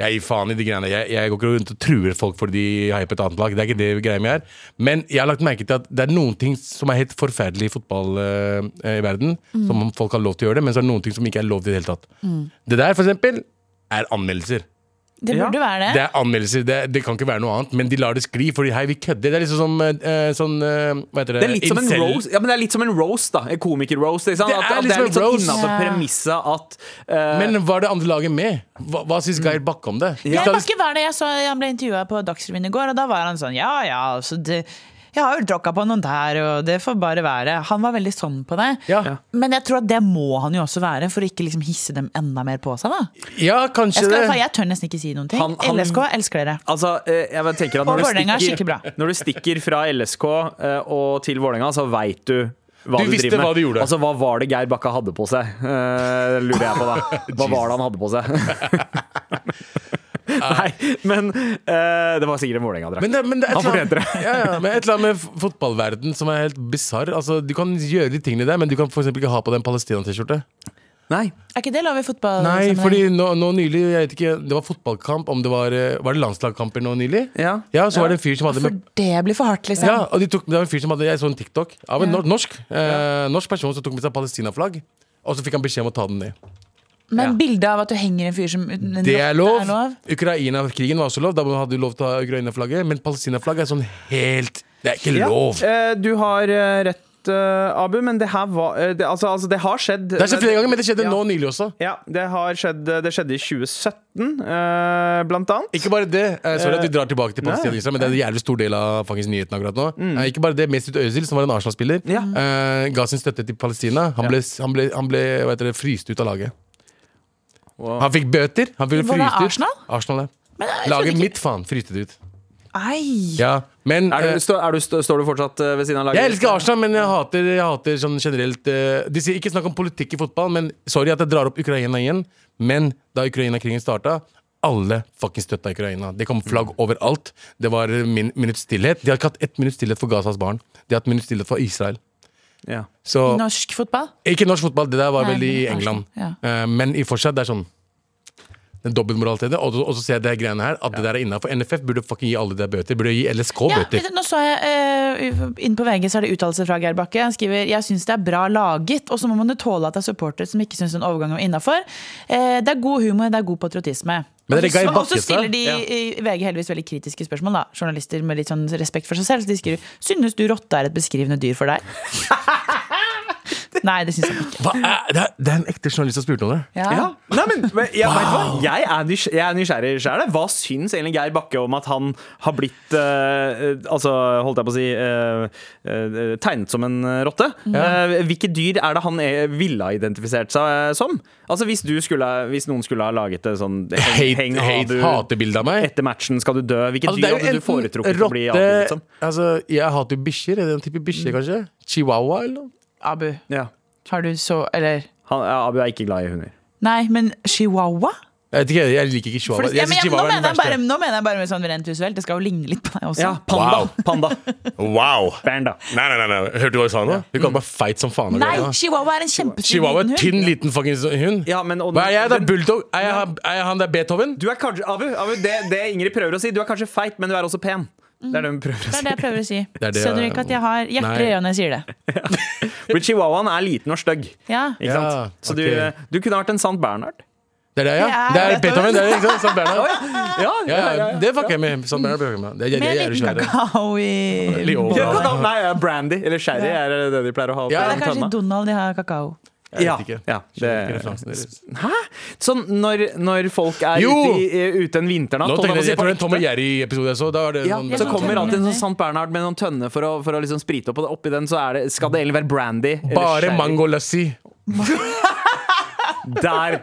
Speaker 3: Jeg gir faen i de greiene. Jeg, jeg går ikke rundt og truer folk fordi de heier på et annet lag. Det er ikke det greia mi er. Men jeg har lagt merke til at det er noen ting som er helt forferdelig i fotball eh, i verden,
Speaker 2: Mm.
Speaker 3: som folk har lov til å gjøre det, men så er det noen ting som ikke er lov til i det hele tatt. Det der, for eksempel, er anmeldelser.
Speaker 4: Det
Speaker 2: Ja.
Speaker 4: burde være
Speaker 3: Det
Speaker 4: det.
Speaker 3: er anmeldelser, det, det kan ikke være noe annet, men de lar det skli fordi hei, vi kødder. Det er liksom som eh, sånn eh, Hva heter det?
Speaker 2: Det er litt som en
Speaker 3: Incel-
Speaker 2: roast, ja, men det er litt som en roast da. En komiker-roast. ikke sant?
Speaker 3: Det
Speaker 2: At-
Speaker 3: er
Speaker 2: at
Speaker 3: litt
Speaker 2: Det er
Speaker 3: som en
Speaker 2: litt sånn
Speaker 3: roast.
Speaker 2: innafor
Speaker 4: Ja.
Speaker 2: premisset at eh,
Speaker 3: Men var det andre laget med? Hva, hva syns Geir Bakke om det?
Speaker 4: Geir
Speaker 3: Skal-
Speaker 4: Bakke var det jeg så Han ble intervjua på Dagsrevyen i går, og da var han sånn Ja ja, altså det, Jeg har jo tråkka på noen der, og det får bare være. Han var veldig sånn på det.
Speaker 3: Ja.
Speaker 4: Men jeg tror at det må han jo også være, for å ikke liksom hisse dem enda mer på seg. da
Speaker 3: ja, kanskje
Speaker 4: Jeg, skal, i hvert fall-
Speaker 3: det.
Speaker 4: jeg tør nesten ikke si noen ting.
Speaker 2: Han- han-
Speaker 4: LSK elsker dere.
Speaker 2: Altså, eh, jeg bare tenker at
Speaker 4: Og
Speaker 2: når du,
Speaker 4: Vålerenga er skikkelig
Speaker 2: stikker,
Speaker 4: bra.
Speaker 2: når du stikker fra LSK eh, og til Vålerenga, så veit du hva
Speaker 3: Du
Speaker 2: du,
Speaker 3: visste
Speaker 2: driver med.
Speaker 3: hva du gjorde.
Speaker 2: Altså, hva var det Geir Bakka hadde på seg? Eh, lurer jeg på, da. Hva var det han hadde på seg? Nei, men eh, det var sikkert en Vålerenga-drakt.
Speaker 3: Men det, men det er et
Speaker 2: Han
Speaker 3: eller annet-
Speaker 2: fortjente det.
Speaker 3: ja, ja, men et eller annet med f- fotballverden som er helt bisarr. Altså, du kan gjøre de tingene der, men du kan for eksempel ikke ha på deg en Palestina-T-skjorte.
Speaker 2: Nei.
Speaker 4: Er ikke det lov i fotball?
Speaker 3: Nei, fordi nå, nå nylig, jeg vet ikke, det var fotballkamp, om det var eh, Var det landslagkamper nå nylig?
Speaker 2: Ja.
Speaker 3: ja så var det en fyr som hadde med
Speaker 4: For det blir for hardt, liksom.
Speaker 3: Ja, og de tok, det var en fyr som hadde Jeg så en TikTok av en nor- norsk, eh, norsk person som tok med seg palestinaflagg. Og så fikk han beskjed om å ta den ned.
Speaker 4: Men
Speaker 2: Ja.
Speaker 4: bildet av at du henger en fyr som en
Speaker 3: Det
Speaker 4: rotte
Speaker 3: er lov! Ukraina-krigen var også lov. Da hadde du lov til å ha Ukraina-flagget. Men palestinaflagg er sånn helt Det er ikke
Speaker 2: Ja,
Speaker 3: lov!
Speaker 2: eh, du har eh, rett, eh, Abu, men det her var eh, det, altså, altså, det har skjedd.
Speaker 3: Det har skjedd flere ganger, men det skjedde
Speaker 2: Ja.
Speaker 3: nå nylig også.
Speaker 2: Ja, det har skjedd eh, Det skjedde i 2017, eh, blant annet.
Speaker 3: Ikke bare det. eh, sorry at vi drar tilbake til Palestina, og Israel, men det er en jævlig stor del av faktisk nyhetene akkurat nå. Eh, ikke bare det. Mesut Özil, som var en Arsenal-spiller,
Speaker 2: Ja.
Speaker 3: eh, ga sin støtte til Palestina. Han ble, han ble, han ble hva heter det, fryst ut av laget.
Speaker 2: Wow.
Speaker 3: Han fikk bøter. Han ble
Speaker 4: Var det
Speaker 3: fryst ut.
Speaker 4: Arsenal?
Speaker 3: Arsenal, ja.
Speaker 4: Men jeg skjønner
Speaker 3: Laget
Speaker 4: ikke-
Speaker 3: mitt, faen, fryste det ut.
Speaker 4: Ei!
Speaker 3: Ja, men
Speaker 2: Er
Speaker 3: eh,
Speaker 2: du, stå, er du, stå, står du fortsatt eh, ved siden av laget?
Speaker 3: jeg elsker Arsenal, men jeg hater, jeg hater sånn generelt eh, de sier, Ikke snakk om politikk i fotball, men sorry at jeg drar opp Ukraina igjen. Men da Ukraina-krigen starta, alle fuckings støtta Ukraina. Det kom flagg overalt. Det var min, minutts stillhet. De har ikke hatt ett minutts stillhet for Gazas barn. De har hatt minutts stillhet for Israel.
Speaker 2: Ja.
Speaker 3: Så,
Speaker 4: I norsk fotball?
Speaker 3: ikke norsk fotball, det der var
Speaker 4: Nei,
Speaker 3: vel i
Speaker 4: men
Speaker 3: England.
Speaker 4: Arsenal,
Speaker 3: Eh, men i fortsatt, det er sånn den dobbeltmoraliteten. Og, og så ser jeg det her greiene her, at det der er innafor. NFF burde fucking gi alle de der bøter. Burde gi LSK
Speaker 4: Ja,
Speaker 3: bøter.
Speaker 4: nå så jeg eh, Inn på VG så er det uttalelse fra Geir Bakke. Han skriver jeg syns det er bra laget, og så må man jo tåle at det er supportere som ikke syns en overgang er innafor. Eh, det er god humor, det er god patriotisme.
Speaker 3: Men det er
Speaker 4: Og så-
Speaker 3: Geir Bakke,
Speaker 4: Og så stiller de
Speaker 2: sa?
Speaker 4: i VG heldigvis veldig kritiske spørsmål, da. Journalister med litt sånn respekt for seg selv. Så de skriver Synes du rotte er et beskrivende dyr for deg? Nei, det syns jeg ikke.
Speaker 3: Hva er, det, er, det er en ekte journalist som spurte om det.
Speaker 4: Ja.
Speaker 2: Ja. Nei, men, men jeg, vet hva? jeg er nysg- jeg er nysgjerrig sjæl. Hva syns egentlig Geir Bakke om at han har blitt eh, eh, Altså, holdt jeg på å si eh, eh, Tegnet som en eh, rotte?
Speaker 3: Mm.
Speaker 2: Eh, hvilke dyr er det han er, ville ha identifisert seg eh, som? Altså, hvis, du skulle, hvis noen skulle ha laget et sånn
Speaker 3: Hate, hate, hatebilde av meg.
Speaker 2: Etter matchen skal du dø. Hvilket
Speaker 3: Altså, det
Speaker 2: dyr
Speaker 3: er jo
Speaker 2: hadde du
Speaker 3: enten
Speaker 2: foretrukket å bli avbildet
Speaker 3: rotte
Speaker 2: som?
Speaker 3: altså, Jeg hater jo bikkjer. Er det den type bikkjer, kanskje? Chihuahua, eller noe?
Speaker 4: Abu,
Speaker 2: Ja.
Speaker 4: har du så Eller
Speaker 2: Han, ja, Abu er ikke glad i hunder.
Speaker 4: Nei, men chihuahua?
Speaker 3: Jeg vet ikke, jeg liker ikke
Speaker 4: For
Speaker 3: chihuahua.
Speaker 4: det- ja,
Speaker 3: Jeg
Speaker 4: men
Speaker 3: synes
Speaker 4: jeg- nå,
Speaker 3: chihuahua er
Speaker 4: mener
Speaker 3: den
Speaker 4: jeg bare,
Speaker 3: verste.
Speaker 4: nå mener jeg bare med sånn rent visuelt. Det skal jo ligne litt på deg også.
Speaker 2: Ja, panda.
Speaker 3: Wow.
Speaker 2: panda.
Speaker 3: Wow!
Speaker 2: Panda.
Speaker 3: Nei, nei, nei, nei. Hørte du hva jeg sa nå? Hun kalte meg feit som faen. og
Speaker 4: Nei,
Speaker 3: greier.
Speaker 4: chihuahua er en kjempestor
Speaker 3: Chihuahua
Speaker 4: liten
Speaker 3: er
Speaker 4: hund.
Speaker 3: tynn, liten fuckings hund.
Speaker 2: Ja, men, og,
Speaker 3: Hva er jeg da?
Speaker 2: den-
Speaker 3: Bulldog? Er jeg, er jeg han der Beethoven?
Speaker 2: Du er kanskje, Abu, Abu det, det Ingrid prøver å si, du er kanskje feit, men du er også pen.
Speaker 3: Mm.
Speaker 2: Det er det hun prøver å
Speaker 4: Det
Speaker 2: si.
Speaker 4: er det jeg prøver å si.
Speaker 3: er det
Speaker 4: Skjønner du
Speaker 3: jeg-
Speaker 4: ikke at jeg har hjerter i
Speaker 3: Nei.
Speaker 4: øynene når jeg sier det?
Speaker 2: For chihuahuaen er liten og stygg.
Speaker 4: Ja.
Speaker 2: Ikke sant?
Speaker 3: Ja,
Speaker 2: Så
Speaker 3: ok.
Speaker 2: du, du kunne vært en sant Bernhard.
Speaker 3: Det er det, ja.
Speaker 4: Det
Speaker 3: Det
Speaker 4: er
Speaker 3: er Beethoven. Det er ikke sant? Sånn Bernhard.
Speaker 2: Ja,
Speaker 3: Ja, ja, det fucker jeg med. Sånn Bernhard fucker jeg med. Det, det, det,
Speaker 4: Med
Speaker 3: er
Speaker 4: en
Speaker 3: jo
Speaker 4: liten
Speaker 3: svære.
Speaker 4: kakao i
Speaker 3: Litt over.
Speaker 2: Ja, kakao- Nei, ja, brandy eller sherry
Speaker 4: Ja.
Speaker 2: er det de pleier å ha.
Speaker 3: Ja,
Speaker 2: på
Speaker 4: Det er kanskje i
Speaker 2: tønna.
Speaker 4: Donald de har kakao.
Speaker 3: Jeg
Speaker 2: Ja,
Speaker 3: vet ikke.
Speaker 2: ja,
Speaker 3: Skjønner ikke
Speaker 2: det-
Speaker 3: referansen deres.
Speaker 2: Hæ? Sånn når, når folk er
Speaker 3: Jo!
Speaker 2: ute, i, ute en vinternatt
Speaker 3: Nå
Speaker 2: holdt
Speaker 3: tenker
Speaker 2: på å
Speaker 3: jeg,
Speaker 2: si,
Speaker 3: jeg tror det er en
Speaker 2: på
Speaker 3: Tom og
Speaker 2: ekte.
Speaker 3: Jerry-episode jeg så. Da var det
Speaker 2: ja,
Speaker 3: sånn,
Speaker 2: så
Speaker 4: sånn
Speaker 2: kommer alltid en
Speaker 4: tønne.
Speaker 2: sånn Sankt Bernhard med noen tønne for å, for å liksom sprite opp, og oppi den så er det, skal det egentlig være brandy. eller
Speaker 3: Bare
Speaker 2: sherry.
Speaker 3: mango lassi.
Speaker 2: Der,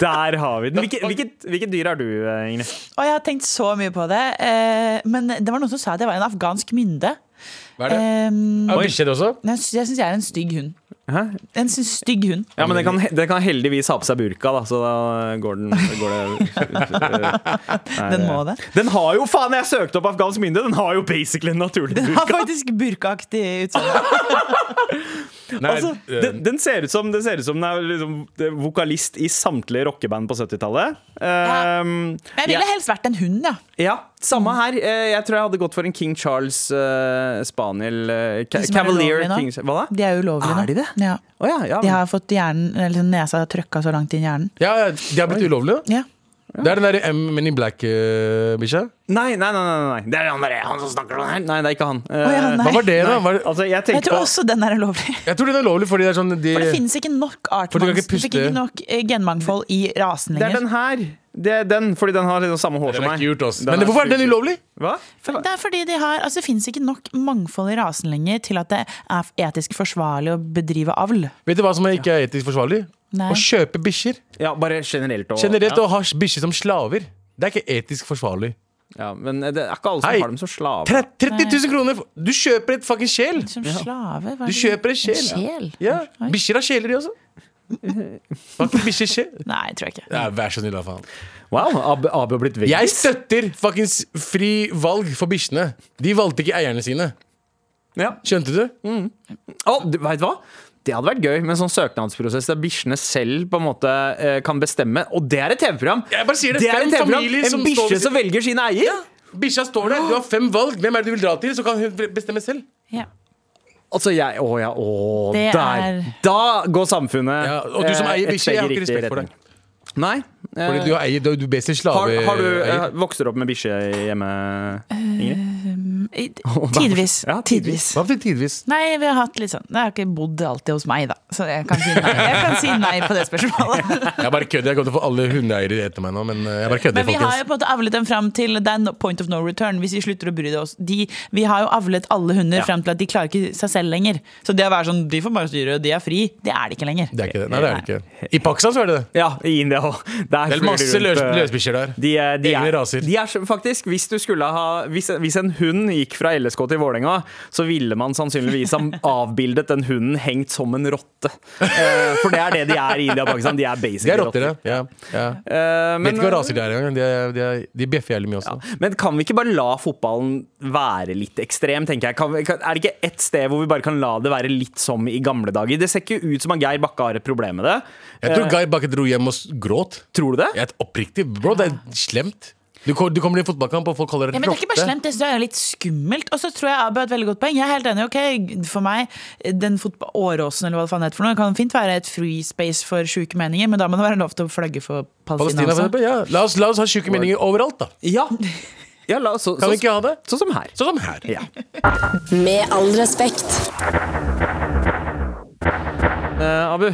Speaker 2: der har vi den. Hvilke, hvilket, hvilket dyr er du, eh, Ingrid?
Speaker 4: Og jeg har tenkt så mye på det. Eh, men det var noen som sa at jeg var en afghansk mynde.
Speaker 3: Hva er det?
Speaker 4: Eh,
Speaker 3: Er det bikkjer også?
Speaker 4: jeg syns jeg er en stygg hund.
Speaker 2: Hæ?
Speaker 4: En sy- stygg hund.
Speaker 2: Ja, men den kan, den kan heldigvis ha på seg burka, da, så da går den går det,
Speaker 4: Den må det.
Speaker 2: Den har jo, faen, jeg søkte opp afghansk myndighet, den har jo basically en naturlig
Speaker 4: Den
Speaker 2: burka.
Speaker 4: har faktisk burkaaktig utseende.
Speaker 3: Nei,
Speaker 2: Altså,
Speaker 3: eh,
Speaker 2: den, den ser ut som, det ser ut som den er liksom det er vokalist i samtlige rockeband på 70-tallet. Ehm,
Speaker 4: Men jeg ville helst vært en hund, ja.
Speaker 2: ja, ja, samme her. Eh, Jeg tror jeg hadde gått for en King Charles eh, Spaniel eh, ca
Speaker 4: De som er
Speaker 2: Cavalier
Speaker 4: ulovlige nå.
Speaker 2: King Hva da?
Speaker 4: De er ulovlige
Speaker 3: Ah,
Speaker 4: nå.
Speaker 2: Er de det?
Speaker 4: Ja.
Speaker 2: Å ja, ja.
Speaker 4: De har fått hjernen, eller nesa trøkka så langt inn i hjernen.
Speaker 3: Ja, ja, de har blitt ulovlige.
Speaker 4: Ja.
Speaker 3: Det er den derre M Men in eh, Black-bikkja.
Speaker 2: Nei, nei, nei, nei, nei. Det er han, der, han som snakker sånn her. Nei, det er ikke han.
Speaker 4: ja,
Speaker 2: Eh,
Speaker 4: nei.
Speaker 3: Hva var det, da? Var,
Speaker 2: Altså, jeg
Speaker 4: Jeg
Speaker 2: tenkte
Speaker 4: tror
Speaker 2: på
Speaker 4: også den er ulovlig.
Speaker 3: jeg tror den er ulovlig fordi det er sånn de,
Speaker 4: For det finnes ikke nok
Speaker 3: For du kan
Speaker 4: artmangs.
Speaker 3: ikke
Speaker 4: Du
Speaker 3: puste.
Speaker 4: fikk ikke nok eh, genmangfold i rasen
Speaker 2: Det er
Speaker 4: lenger.
Speaker 2: den her. Det er den, fordi den har liksom samme hår
Speaker 3: Den
Speaker 2: som
Speaker 3: er
Speaker 2: meg.
Speaker 3: cute, ass.
Speaker 2: Den
Speaker 3: Men hvorfor er den
Speaker 2: sjukt.
Speaker 3: ulovlig?
Speaker 2: Hva?
Speaker 4: Det er fordi de har, altså det finnes ikke nok mangfold i rasen lenger til at det er etisk forsvarlig å bedrive avl.
Speaker 3: Vet du hva som er ikke er etisk forsvarlig?
Speaker 4: Nei.
Speaker 3: Å kjøpe bikkjer.
Speaker 2: Ja, bare generelt. Og,
Speaker 3: Generelt
Speaker 2: ja.
Speaker 3: å ha bikkjer som slaver. Det er ikke etisk forsvarlig.
Speaker 2: Ja, men eh, det er ikke alle som
Speaker 3: Hei.
Speaker 2: har dem som slaver.
Speaker 3: Tre- 30 000 kroner! for- Du kjøper et fucking sjel!
Speaker 4: Som slave? hva er
Speaker 3: Du
Speaker 4: det?
Speaker 3: kjøper en
Speaker 4: En
Speaker 3: sjel.
Speaker 4: sjel?
Speaker 3: Ja, Bikkjer har sjeler, de også. Har ikke bikkjer sjel?
Speaker 4: Nei, tror jeg ikke.
Speaker 3: Ja, vær så snill, da, faen.
Speaker 2: Wow, Abu Abu har blitt vegg.
Speaker 3: Jeg støtter fuckings fri valg for bikkjene. De valgte ikke eierne sine.
Speaker 2: Ja.
Speaker 3: Skjønte du?
Speaker 2: Å, du vet hva? Det hadde vært gøy med en sånn søknadsprosess der bikkjene selv på en måte eh, kan bestemme. Og det er et TV-program!
Speaker 3: Jeg bare sier det,
Speaker 2: er
Speaker 3: fem
Speaker 2: et TV-program.
Speaker 3: familier som
Speaker 2: En bikkje
Speaker 3: står-
Speaker 2: som velger sin eier!
Speaker 3: Bikkja står der, du har fem valg. Hvem er det du vil dra til? Så kan hun bestemme selv.
Speaker 4: Ja.
Speaker 2: Altså, jeg Å ja, å
Speaker 4: Det
Speaker 2: Der!
Speaker 4: er-
Speaker 2: Da går samfunnet
Speaker 3: Ja, og du som
Speaker 2: eh,
Speaker 3: eier
Speaker 2: et
Speaker 3: bikkje, jeg har
Speaker 2: steg i
Speaker 3: ikke
Speaker 2: riktig
Speaker 3: respekt for
Speaker 2: retning. Nei. eh,
Speaker 3: Fordi du, eier, du, du bes til
Speaker 2: har,
Speaker 3: slave...
Speaker 2: har du eh,
Speaker 3: eier.
Speaker 2: Vokste du opp med bikkje hjemme, Ingrid?
Speaker 4: I- Tidvis.
Speaker 2: Ja, tidvis.
Speaker 4: Tidvis.
Speaker 3: Hva betyr tidvis?
Speaker 4: Nei, vi har hatt litt sånn Jeg har ikke bodd alltid hos meg, da. Så jeg kan si nei, jeg kan si nei på det spørsmålet.
Speaker 3: Jeg bare kødder. Jeg kommer til å få alle hundeeiere etter meg nå, men eh, jeg bare kødder,
Speaker 4: Men vi har jo
Speaker 3: folkens.
Speaker 4: på en måte avlet dem fram til det er no point of no return. Hvis vi slutter å bry oss de, Vi har jo avlet alle hunder fram til at de klarer ikke seg selv lenger. Så det å være sånn de får bare styre, de er fri, det er de ikke lenger.
Speaker 3: Det er ikke det. Nei, det er det ikke. I Pakistan så er det det.
Speaker 2: Ja, i India òg.
Speaker 3: Det er masse løs, løsbikkjer der.
Speaker 2: eh, De, er- de
Speaker 3: Egne
Speaker 2: er,
Speaker 3: raser.
Speaker 2: De er så- faktisk, hvis, du skulle ha, hvis, hvis en hund gikk fra LSK til Vålerenga, så ville man sannsynligvis ha avbildet den hunden hengt som en rotte. Eh, for det er det de er i India og Pakistan. De er
Speaker 3: De
Speaker 2: basically
Speaker 3: er rotter, ja. ja.
Speaker 2: Eh,
Speaker 3: Vet
Speaker 2: men,
Speaker 3: ikke hva raser de er engang. De, er- de, er- de bjeffer jævlig mye også.
Speaker 2: men kan vi ikke bare la fotballen være litt ekstrem, tenker jeg. Kan, vi- kan, er det ikke ett sted hvor vi bare kan la det være litt som i gamle dager? Det ser ikke ut som at Geir Bakke har et problem med det.
Speaker 3: Jeg
Speaker 4: Eh.
Speaker 3: tror Guy Bakke dro hjem og s- gråt.
Speaker 2: Tror du det?
Speaker 3: Jeg er oppriktig, bro. Det er slemt. Du, kom- du kommer til en fotballkamp, og folk kaller
Speaker 4: Ja,
Speaker 3: deg
Speaker 4: men Det er ikke bare
Speaker 3: rotte.
Speaker 4: slemt, det synes jeg er litt skummelt. Og så tror jeg Abu har et veldig godt poeng. Jeg er helt enig, ok, For meg, den fotball- Åråsen eller hva det faen heter for noe, kan fint være et free space for sjuke meninger, men da må det være lov til å flagge for Palestina.
Speaker 3: Palestina, for
Speaker 4: også.
Speaker 3: eksempel. Ja. La, oss, la oss ha sjuke meninger overalt, da.
Speaker 2: Ja. ja la, oss- så,
Speaker 3: Kan vi
Speaker 2: så-
Speaker 3: ikke ha det?
Speaker 2: Sånn som her.
Speaker 3: Sånn som her.
Speaker 2: Ja.
Speaker 1: Med all respekt.
Speaker 2: Eh, Abu,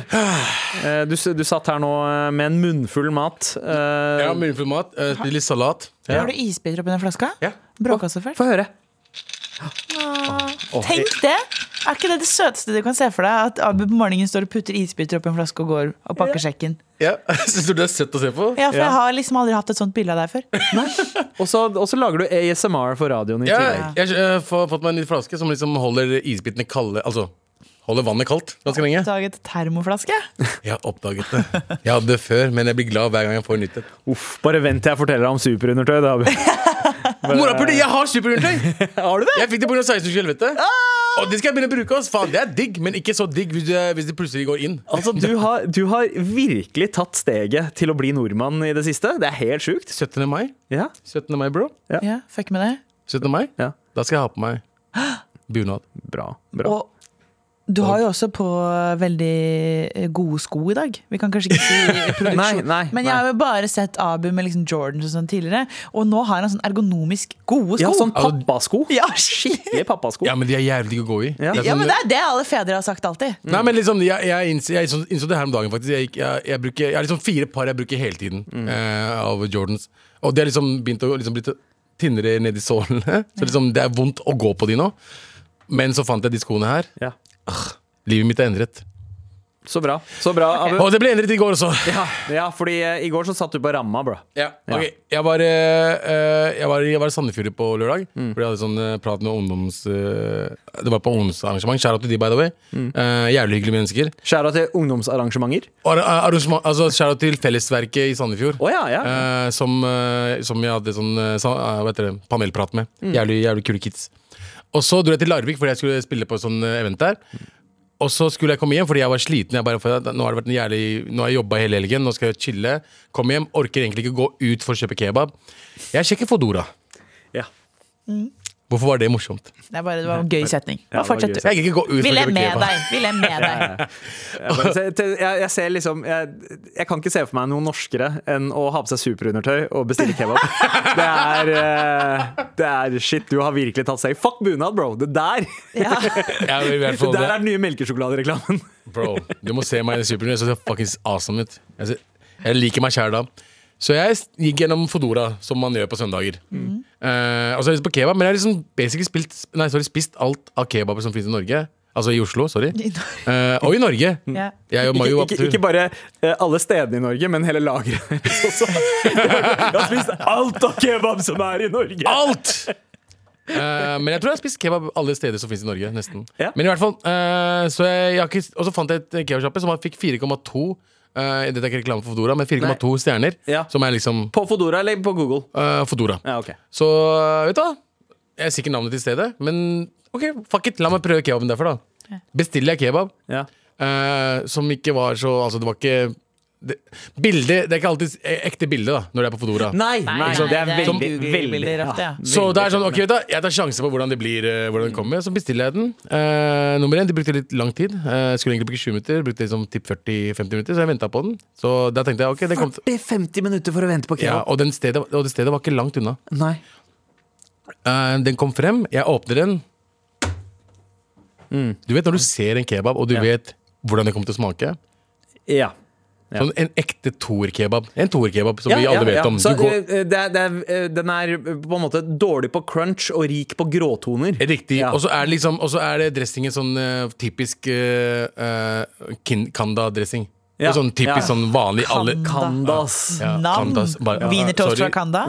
Speaker 2: eh, du, s- du satt her nå eh, med en munnfull mat. Eh,
Speaker 3: Jeg har munnfull mat. eh, spiser litt salat.
Speaker 4: Har du isbiter oppi den flaska?
Speaker 3: Ja.
Speaker 4: Bråka så fælt.
Speaker 2: Få høre.
Speaker 4: Tenk det! Er ikke det det søteste du kan se for deg? At Abu på morgenen står og putter isbiter oppi en flaske og går og pakker sekken.
Speaker 3: Ja. Syns du det er søtt å se på?
Speaker 4: Ja, for
Speaker 2: Ja.
Speaker 4: jeg har liksom aldri hatt et sånt bilde av deg før.
Speaker 2: Og så og så lager du ASMR for radioen i
Speaker 3: Ja,
Speaker 2: tillegg.
Speaker 3: jeg har fått meg en ny flaske som liksom holder isbitene kalde. Altså holder vannet kaldt ganske lenge.
Speaker 4: Daget termoflaske.
Speaker 3: Jeg har oppdaget det. Jeg hadde det før, men jeg blir glad hver gang jeg får nytt et.
Speaker 2: Uff, bare vent til jeg forteller deg om superundertøy. da, Abu.
Speaker 3: Morapuler, jeg har superundertøy!
Speaker 2: Har du det? Ah!
Speaker 3: Jeg fikk det pga. 16 års helvete. Og det skal jeg begynne å bruke. Ass. Faen, det er digg, men ikke så digg hvis det, hvis det plutselig går inn.
Speaker 2: Altså, du har, du har virkelig tatt steget til å bli nordmann i det siste. Det er helt sjukt.
Speaker 3: 17. mai,
Speaker 2: Ja.
Speaker 3: 17. mai bro.
Speaker 4: Ja, fuck med det.
Speaker 3: 17. Mai.
Speaker 2: Ja.
Speaker 3: Da skal jeg ha på meg bunad.
Speaker 2: Bra. bra.
Speaker 4: Og Du har jo også på veldig eh, gode sko i dag. Vi kan kanskje ikke si
Speaker 2: Nei,
Speaker 4: produksjon.
Speaker 2: nei,
Speaker 4: Men jeg
Speaker 2: nei.
Speaker 4: har jo bare sett Abu med liksom Jordans og sånn tidligere, og nå har han sånn ergonomisk gode sko.
Speaker 2: Ja, sånn
Speaker 3: Altså-
Speaker 2: pappasko.
Speaker 4: Ja, shit.
Speaker 2: Skikkelig pappasko.
Speaker 3: Ja, men de er sånn jævlig gode å gå i.
Speaker 2: Ja.
Speaker 4: ja, men det er det alle fedre har sagt alltid.
Speaker 2: Mm.
Speaker 3: Nei, men liksom, jeg, jeg, innså, jeg innså, innså det her om dagen, faktisk. Jeg, gikk- jeg, jeg, bruker, jeg har liksom fire par jeg bruker hele tiden
Speaker 2: Mm.
Speaker 3: eh, av Jordans. Og de har liksom begynt å liksom blitt tynnere nedi sålene. Så liksom, det er vondt å gå på de nå. Men så fant jeg de skoene her.
Speaker 2: Ja.
Speaker 3: Livet mitt er endret.
Speaker 2: Så bra. Så bra, Abu.
Speaker 3: Og det ble endret i går også!
Speaker 2: Ja, ja, fordi eh, i går så satt du på ramma, bro.
Speaker 3: Ja, ok Jeg var, eh, eh, jeg var, jeg var i Sandefjord på lørdag.
Speaker 2: Mm.
Speaker 3: Fordi jeg hadde sånn eh, prat med ungdoms... eh, det var på ungdomsarrangement. Shout out til de, by the way.
Speaker 2: Mm.
Speaker 3: Eh, jævlig hyggelige mennesker.
Speaker 2: Skjæra til ungdomsarrangementer.
Speaker 3: Og ar- arrangement- Altså, Shout out til Fellesverket i Sandefjord.
Speaker 2: Å ja, ja.
Speaker 3: eh, som, eh, som jeg hadde sånn eh, sa, eh, hva heter det, panelprat med.
Speaker 4: Mm.
Speaker 3: Jævlig, jævlig kule kids. Og så dro jeg til Larvik fordi jeg skulle spille på et sånt eh, event der. Og så skulle jeg komme hjem fordi jeg var sliten. Jeg bare, for at nå har det vært en jævlig, nå har jeg jobba hele helgen, nå skal jeg chille. Kom hjem, orker egentlig ikke gå ut for å kjøpe kebab. Jeg sjekker Fodora.
Speaker 2: ja.
Speaker 4: Mm.
Speaker 3: Hvorfor var det morsomt?
Speaker 4: Det, er bare, det var en gøy setning.
Speaker 2: Ja,
Speaker 4: Bare
Speaker 2: det var en
Speaker 4: fortsett,
Speaker 2: gøy
Speaker 4: du.
Speaker 3: Jeg gikk ikke gå ut
Speaker 4: Vi
Speaker 3: for å
Speaker 4: ler
Speaker 3: kjøpe
Speaker 4: med
Speaker 3: kebab.
Speaker 4: deg. Vi ler med deg.
Speaker 2: Jeg, bare ser- til- jeg, jeg ser liksom jeg, jeg kan ikke se for meg noe norskere enn å ha på seg superundertøy og bestille kebab. Det er, eh, det er Shit, du har virkelig tatt seg Fuck bunad, bro! Det der
Speaker 4: Ja.
Speaker 3: Jeg vil i hvert
Speaker 2: det
Speaker 3: fall
Speaker 2: der er den nye melkesjokoladereklamen.
Speaker 3: Bro, du må se meg i Supernøy. Jeg ser fuckings awesome ut. Jeg, ser, jeg liker meg sjæl da. Så jeg s- gikk gjennom Fodora, som man gjør på søndager.
Speaker 2: Mm.
Speaker 3: Eh, og så har jeg lyst på kebab, men jeg har liksom basically spilt, nei, sorry, spist alt av kebaber som fins i Norge. Altså i Oslo, sorry. Eh, og i Norge.
Speaker 4: Ja.
Speaker 3: Jeg og
Speaker 2: Ikke,
Speaker 3: Mayo var på
Speaker 2: ikke, ikke
Speaker 3: tur.
Speaker 2: bare eh, alle stedene i Norge, men hele lageret hennes også. Jeg har spist alt av kebab som er i Norge!
Speaker 3: Alt! Eh, men jeg tror jeg har spist kebab alle steder som fins i Norge. nesten
Speaker 2: Ja.
Speaker 3: Men i hvert fall eh, så jeg, jeg har ikke, Og så fant jeg et kebabsjappe som fikk 4,2 eh, Dette er ikke reklame for Fodora, men 4,2 stjerner.
Speaker 2: Ja.
Speaker 3: Som er liksom
Speaker 2: På Fodora eller på Google?
Speaker 3: eh, Fodora.
Speaker 2: Ja, ok
Speaker 3: Så eh, vet du hva? Jeg er sikkert navnet til stedet, men ok, fuck it. La meg prøve kebaben derfor, da. Bestiller jeg kebab
Speaker 2: ja.
Speaker 3: eh, som ikke var så Altså, det var ikke det, Bilde Det er ikke alltid e- ekte bilde, da, når det er på Fodora.
Speaker 2: Nei, nei,
Speaker 4: nei,
Speaker 2: det er
Speaker 4: det er
Speaker 2: veldig, veldig
Speaker 4: Google-bilder ofte, ja.
Speaker 3: Så det er sånn,
Speaker 2: veldig-
Speaker 3: ok, vet du, hva, jeg tar sjanse på hvordan det blir eh, Hvordan det kommer, så bestiller jeg den Eh, Nummer én, de brukte litt lang tid Eh, Skulle egentlig bruke 20 minutter, brukte liksom tipp 40-50 minutter Så jeg ventet på den, så da tenkte jeg, ok det kom til,
Speaker 2: 40-50 minutter for å vente på
Speaker 3: ja,
Speaker 2: kebab.
Speaker 3: og, den stedet, og det stedet var ikke langt unna
Speaker 2: Nei.
Speaker 3: Eh, den kom frem, jeg åpner den.
Speaker 4: Mm.
Speaker 3: Du vet når du ser en kebab, og du
Speaker 2: Ja.
Speaker 3: vet hvordan det kommer til å smake?
Speaker 2: Ja. Ja.
Speaker 3: Sånn En ekte toerkebab. En toerkebab som
Speaker 2: Ja,
Speaker 3: vi
Speaker 2: ja,
Speaker 3: alle vet
Speaker 2: ja.
Speaker 3: om.
Speaker 2: Så,
Speaker 3: Du går,
Speaker 2: eh, det er, det er, eh, den er på en måte dårlig på crunch og rik på gråtoner.
Speaker 4: eh,
Speaker 3: riktig.
Speaker 2: Ja.
Speaker 3: Og så er det liksom Og så er det dressingen sånn eh, typisk eh, eh, kin- Kanda-dressing.
Speaker 2: Ja.
Speaker 3: Sånn typisk
Speaker 2: Ja.
Speaker 3: sånn vanlig alle
Speaker 2: Kandas.
Speaker 3: ja,
Speaker 4: Nam.
Speaker 3: Kandas, bare- ja,
Speaker 4: Wienertoast fra
Speaker 3: sorry.
Speaker 4: Kanda.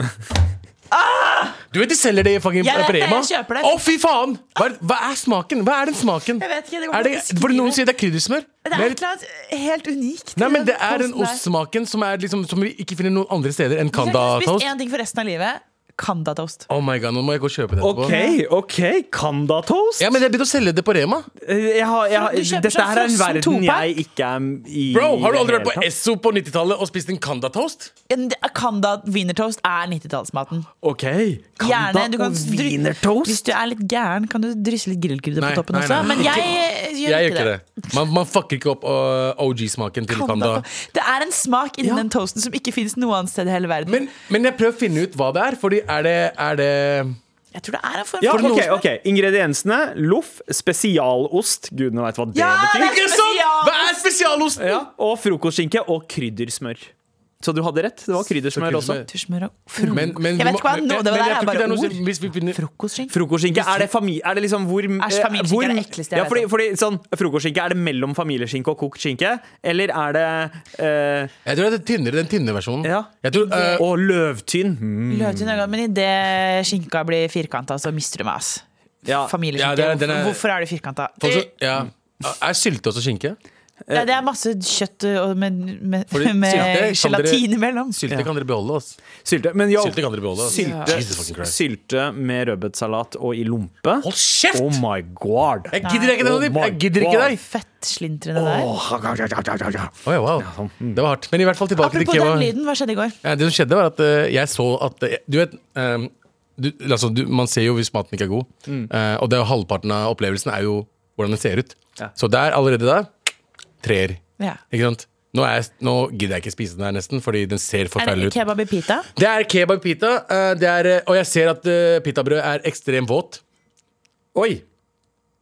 Speaker 3: Du vet de selger det i fucking
Speaker 4: Jeg vet det, jeg
Speaker 3: Prema?
Speaker 4: kjøper det.
Speaker 3: Å, fy faen! Hva er, hva er smaken? Hva er den smaken?
Speaker 4: Jeg vet ikke, det går
Speaker 3: er det,
Speaker 4: ikke an å
Speaker 3: fordi Noen
Speaker 4: beskrive.
Speaker 3: sier det er kryddersmør.
Speaker 4: Det
Speaker 3: men-
Speaker 4: er et eller annet helt unikt.
Speaker 3: Nei, men det
Speaker 4: i
Speaker 3: er den
Speaker 4: posten der.
Speaker 3: ostsmaken som, er liksom, som vi ikke finner noen andre steder enn
Speaker 4: Hvis jeg kunne spist
Speaker 3: Kanda-toast.
Speaker 4: én ting for resten av livet, Kanda-toast.
Speaker 3: Oh my god, Nå må jeg gå og kjøpe det etterpå.
Speaker 2: OK, OK. Kanda-toast? Eh,
Speaker 3: Ja, men Jeg begynte å selge det på Rema.
Speaker 2: Jeg har, jeg, har-
Speaker 4: Du kjøper
Speaker 2: dette
Speaker 4: sånn
Speaker 2: her er en
Speaker 4: frossen
Speaker 2: verden
Speaker 4: topack.
Speaker 2: jeg ikke er i.
Speaker 3: Bro, Har du
Speaker 2: i det
Speaker 3: aldri vært på
Speaker 2: hele tatt.
Speaker 3: Esso på 90-tallet og spist en Kanda-toast?
Speaker 4: En- Kanda-wienertoast er 90-tallsmaten.
Speaker 2: OK. Kanda
Speaker 4: Gjerne, du kan
Speaker 2: og
Speaker 4: dry- Hvis
Speaker 2: wienertoast?
Speaker 4: du er litt gæren, kan du drysse litt grillkrydder
Speaker 3: Nei,
Speaker 4: på toppen
Speaker 3: nei,
Speaker 4: også.
Speaker 3: nei.
Speaker 4: Men jeg eh, gjør
Speaker 3: Jeg gjør
Speaker 4: ikke det.
Speaker 3: Man, man fucker ikke opp øh, OG-smaken til Kanda.
Speaker 4: Kanda. Det er en smak
Speaker 2: Ja.
Speaker 4: innen den toasten som ikke finnes noe annet sted i hele verden.
Speaker 3: Men, men jeg prøver å finne ut hva det er, Fordi er det, er det
Speaker 4: jeg tror det er en form
Speaker 2: Ja,
Speaker 4: for
Speaker 2: ok,
Speaker 4: toast.
Speaker 2: ok Ingrediensene loff, spesialost Gudene veit hva det
Speaker 4: Ja, det
Speaker 2: betyr.
Speaker 4: er-
Speaker 3: Ikke sant? Hva er spesialosten?
Speaker 2: Ja, og frokostskinke og kryddersmør. Så du hadde rett. Det var kryddersmør også.
Speaker 3: kryddersmør.
Speaker 4: Tusjmør og frokost.
Speaker 3: Men, men,
Speaker 4: Jeg vet ikke hva
Speaker 3: men-
Speaker 4: nå-
Speaker 3: men
Speaker 4: det der
Speaker 3: jeg
Speaker 4: er
Speaker 3: tror ikke
Speaker 4: bare
Speaker 3: det noe-
Speaker 4: ord.
Speaker 3: Hvis vi finner
Speaker 4: Frokostskinke.
Speaker 2: Frokostskinke, er det, fami er det liksom hvor
Speaker 4: Æsj, familieskinke er det ekleste jeg
Speaker 2: ja,
Speaker 4: vet
Speaker 2: fordi,
Speaker 4: om.
Speaker 2: fordi, sånn, Frokostskinke, er det mellom familieskinke og kokt skinke? Eller er det eh,
Speaker 3: Jeg tror det er tynnere, den tynne versjonen.
Speaker 2: Ja.
Speaker 3: Jeg tror, øh,
Speaker 2: Og løvtynn. Mm.
Speaker 4: Løt i øynene, men idet skinka blir firkanta, så mister du meg, ass.
Speaker 2: Ja.
Speaker 3: Ja,
Speaker 4: Familieskinke.
Speaker 3: det er- den er-
Speaker 4: Hvorfor er det firkanta?
Speaker 3: folk som- ja. Er sylte også skinke?
Speaker 4: Ja, det er masse kjøtt og med, med,
Speaker 3: Fordi sylte
Speaker 4: med
Speaker 3: kan dere-
Speaker 4: gelatin imellom.
Speaker 3: Sylte
Speaker 2: Ja.
Speaker 3: kan dere beholde, ass.
Speaker 2: Sylte. Men jo,
Speaker 3: Sylte kan dere beholde. ass.
Speaker 2: Sylte.
Speaker 3: Jesus fucking Christ.
Speaker 2: sylte med rødbetsalat og i lompe.
Speaker 3: Hold kjeft!
Speaker 2: Oh my god!
Speaker 3: Jeg gidder ikke det,
Speaker 2: Oh
Speaker 3: Nadeem.
Speaker 2: my
Speaker 3: Jeg gidder ikke
Speaker 2: God.
Speaker 3: deg.
Speaker 4: Fettslintrene der.
Speaker 3: Oi, wow. Mm. Det var hardt. Men i hvert fall tilbake
Speaker 4: Apropos
Speaker 3: til
Speaker 4: den
Speaker 3: kebab.
Speaker 4: lyden, hva skjedde i går?
Speaker 3: Ja, det som skjedde, var at eh, jeg så at eh, Du vet Mm. eh, du, altså, du, Man ser jo hvis maten ikke er god. Eh, og det er jo halvparten av opplevelsen er jo hvordan det ser ut.
Speaker 2: Ja.
Speaker 3: Så der, allerede der, treer.
Speaker 4: Ja.
Speaker 3: Ikke sant? Nå, er jeg, nå gidder jeg ikke spise den her nesten, fordi den ser
Speaker 4: Er
Speaker 3: forferdelig ut.
Speaker 4: det kebab i pita?
Speaker 3: Det er kebab pita, eh, det er, eh, og jeg ser at eh, pitabrød er ekstremt våt.
Speaker 2: Oi!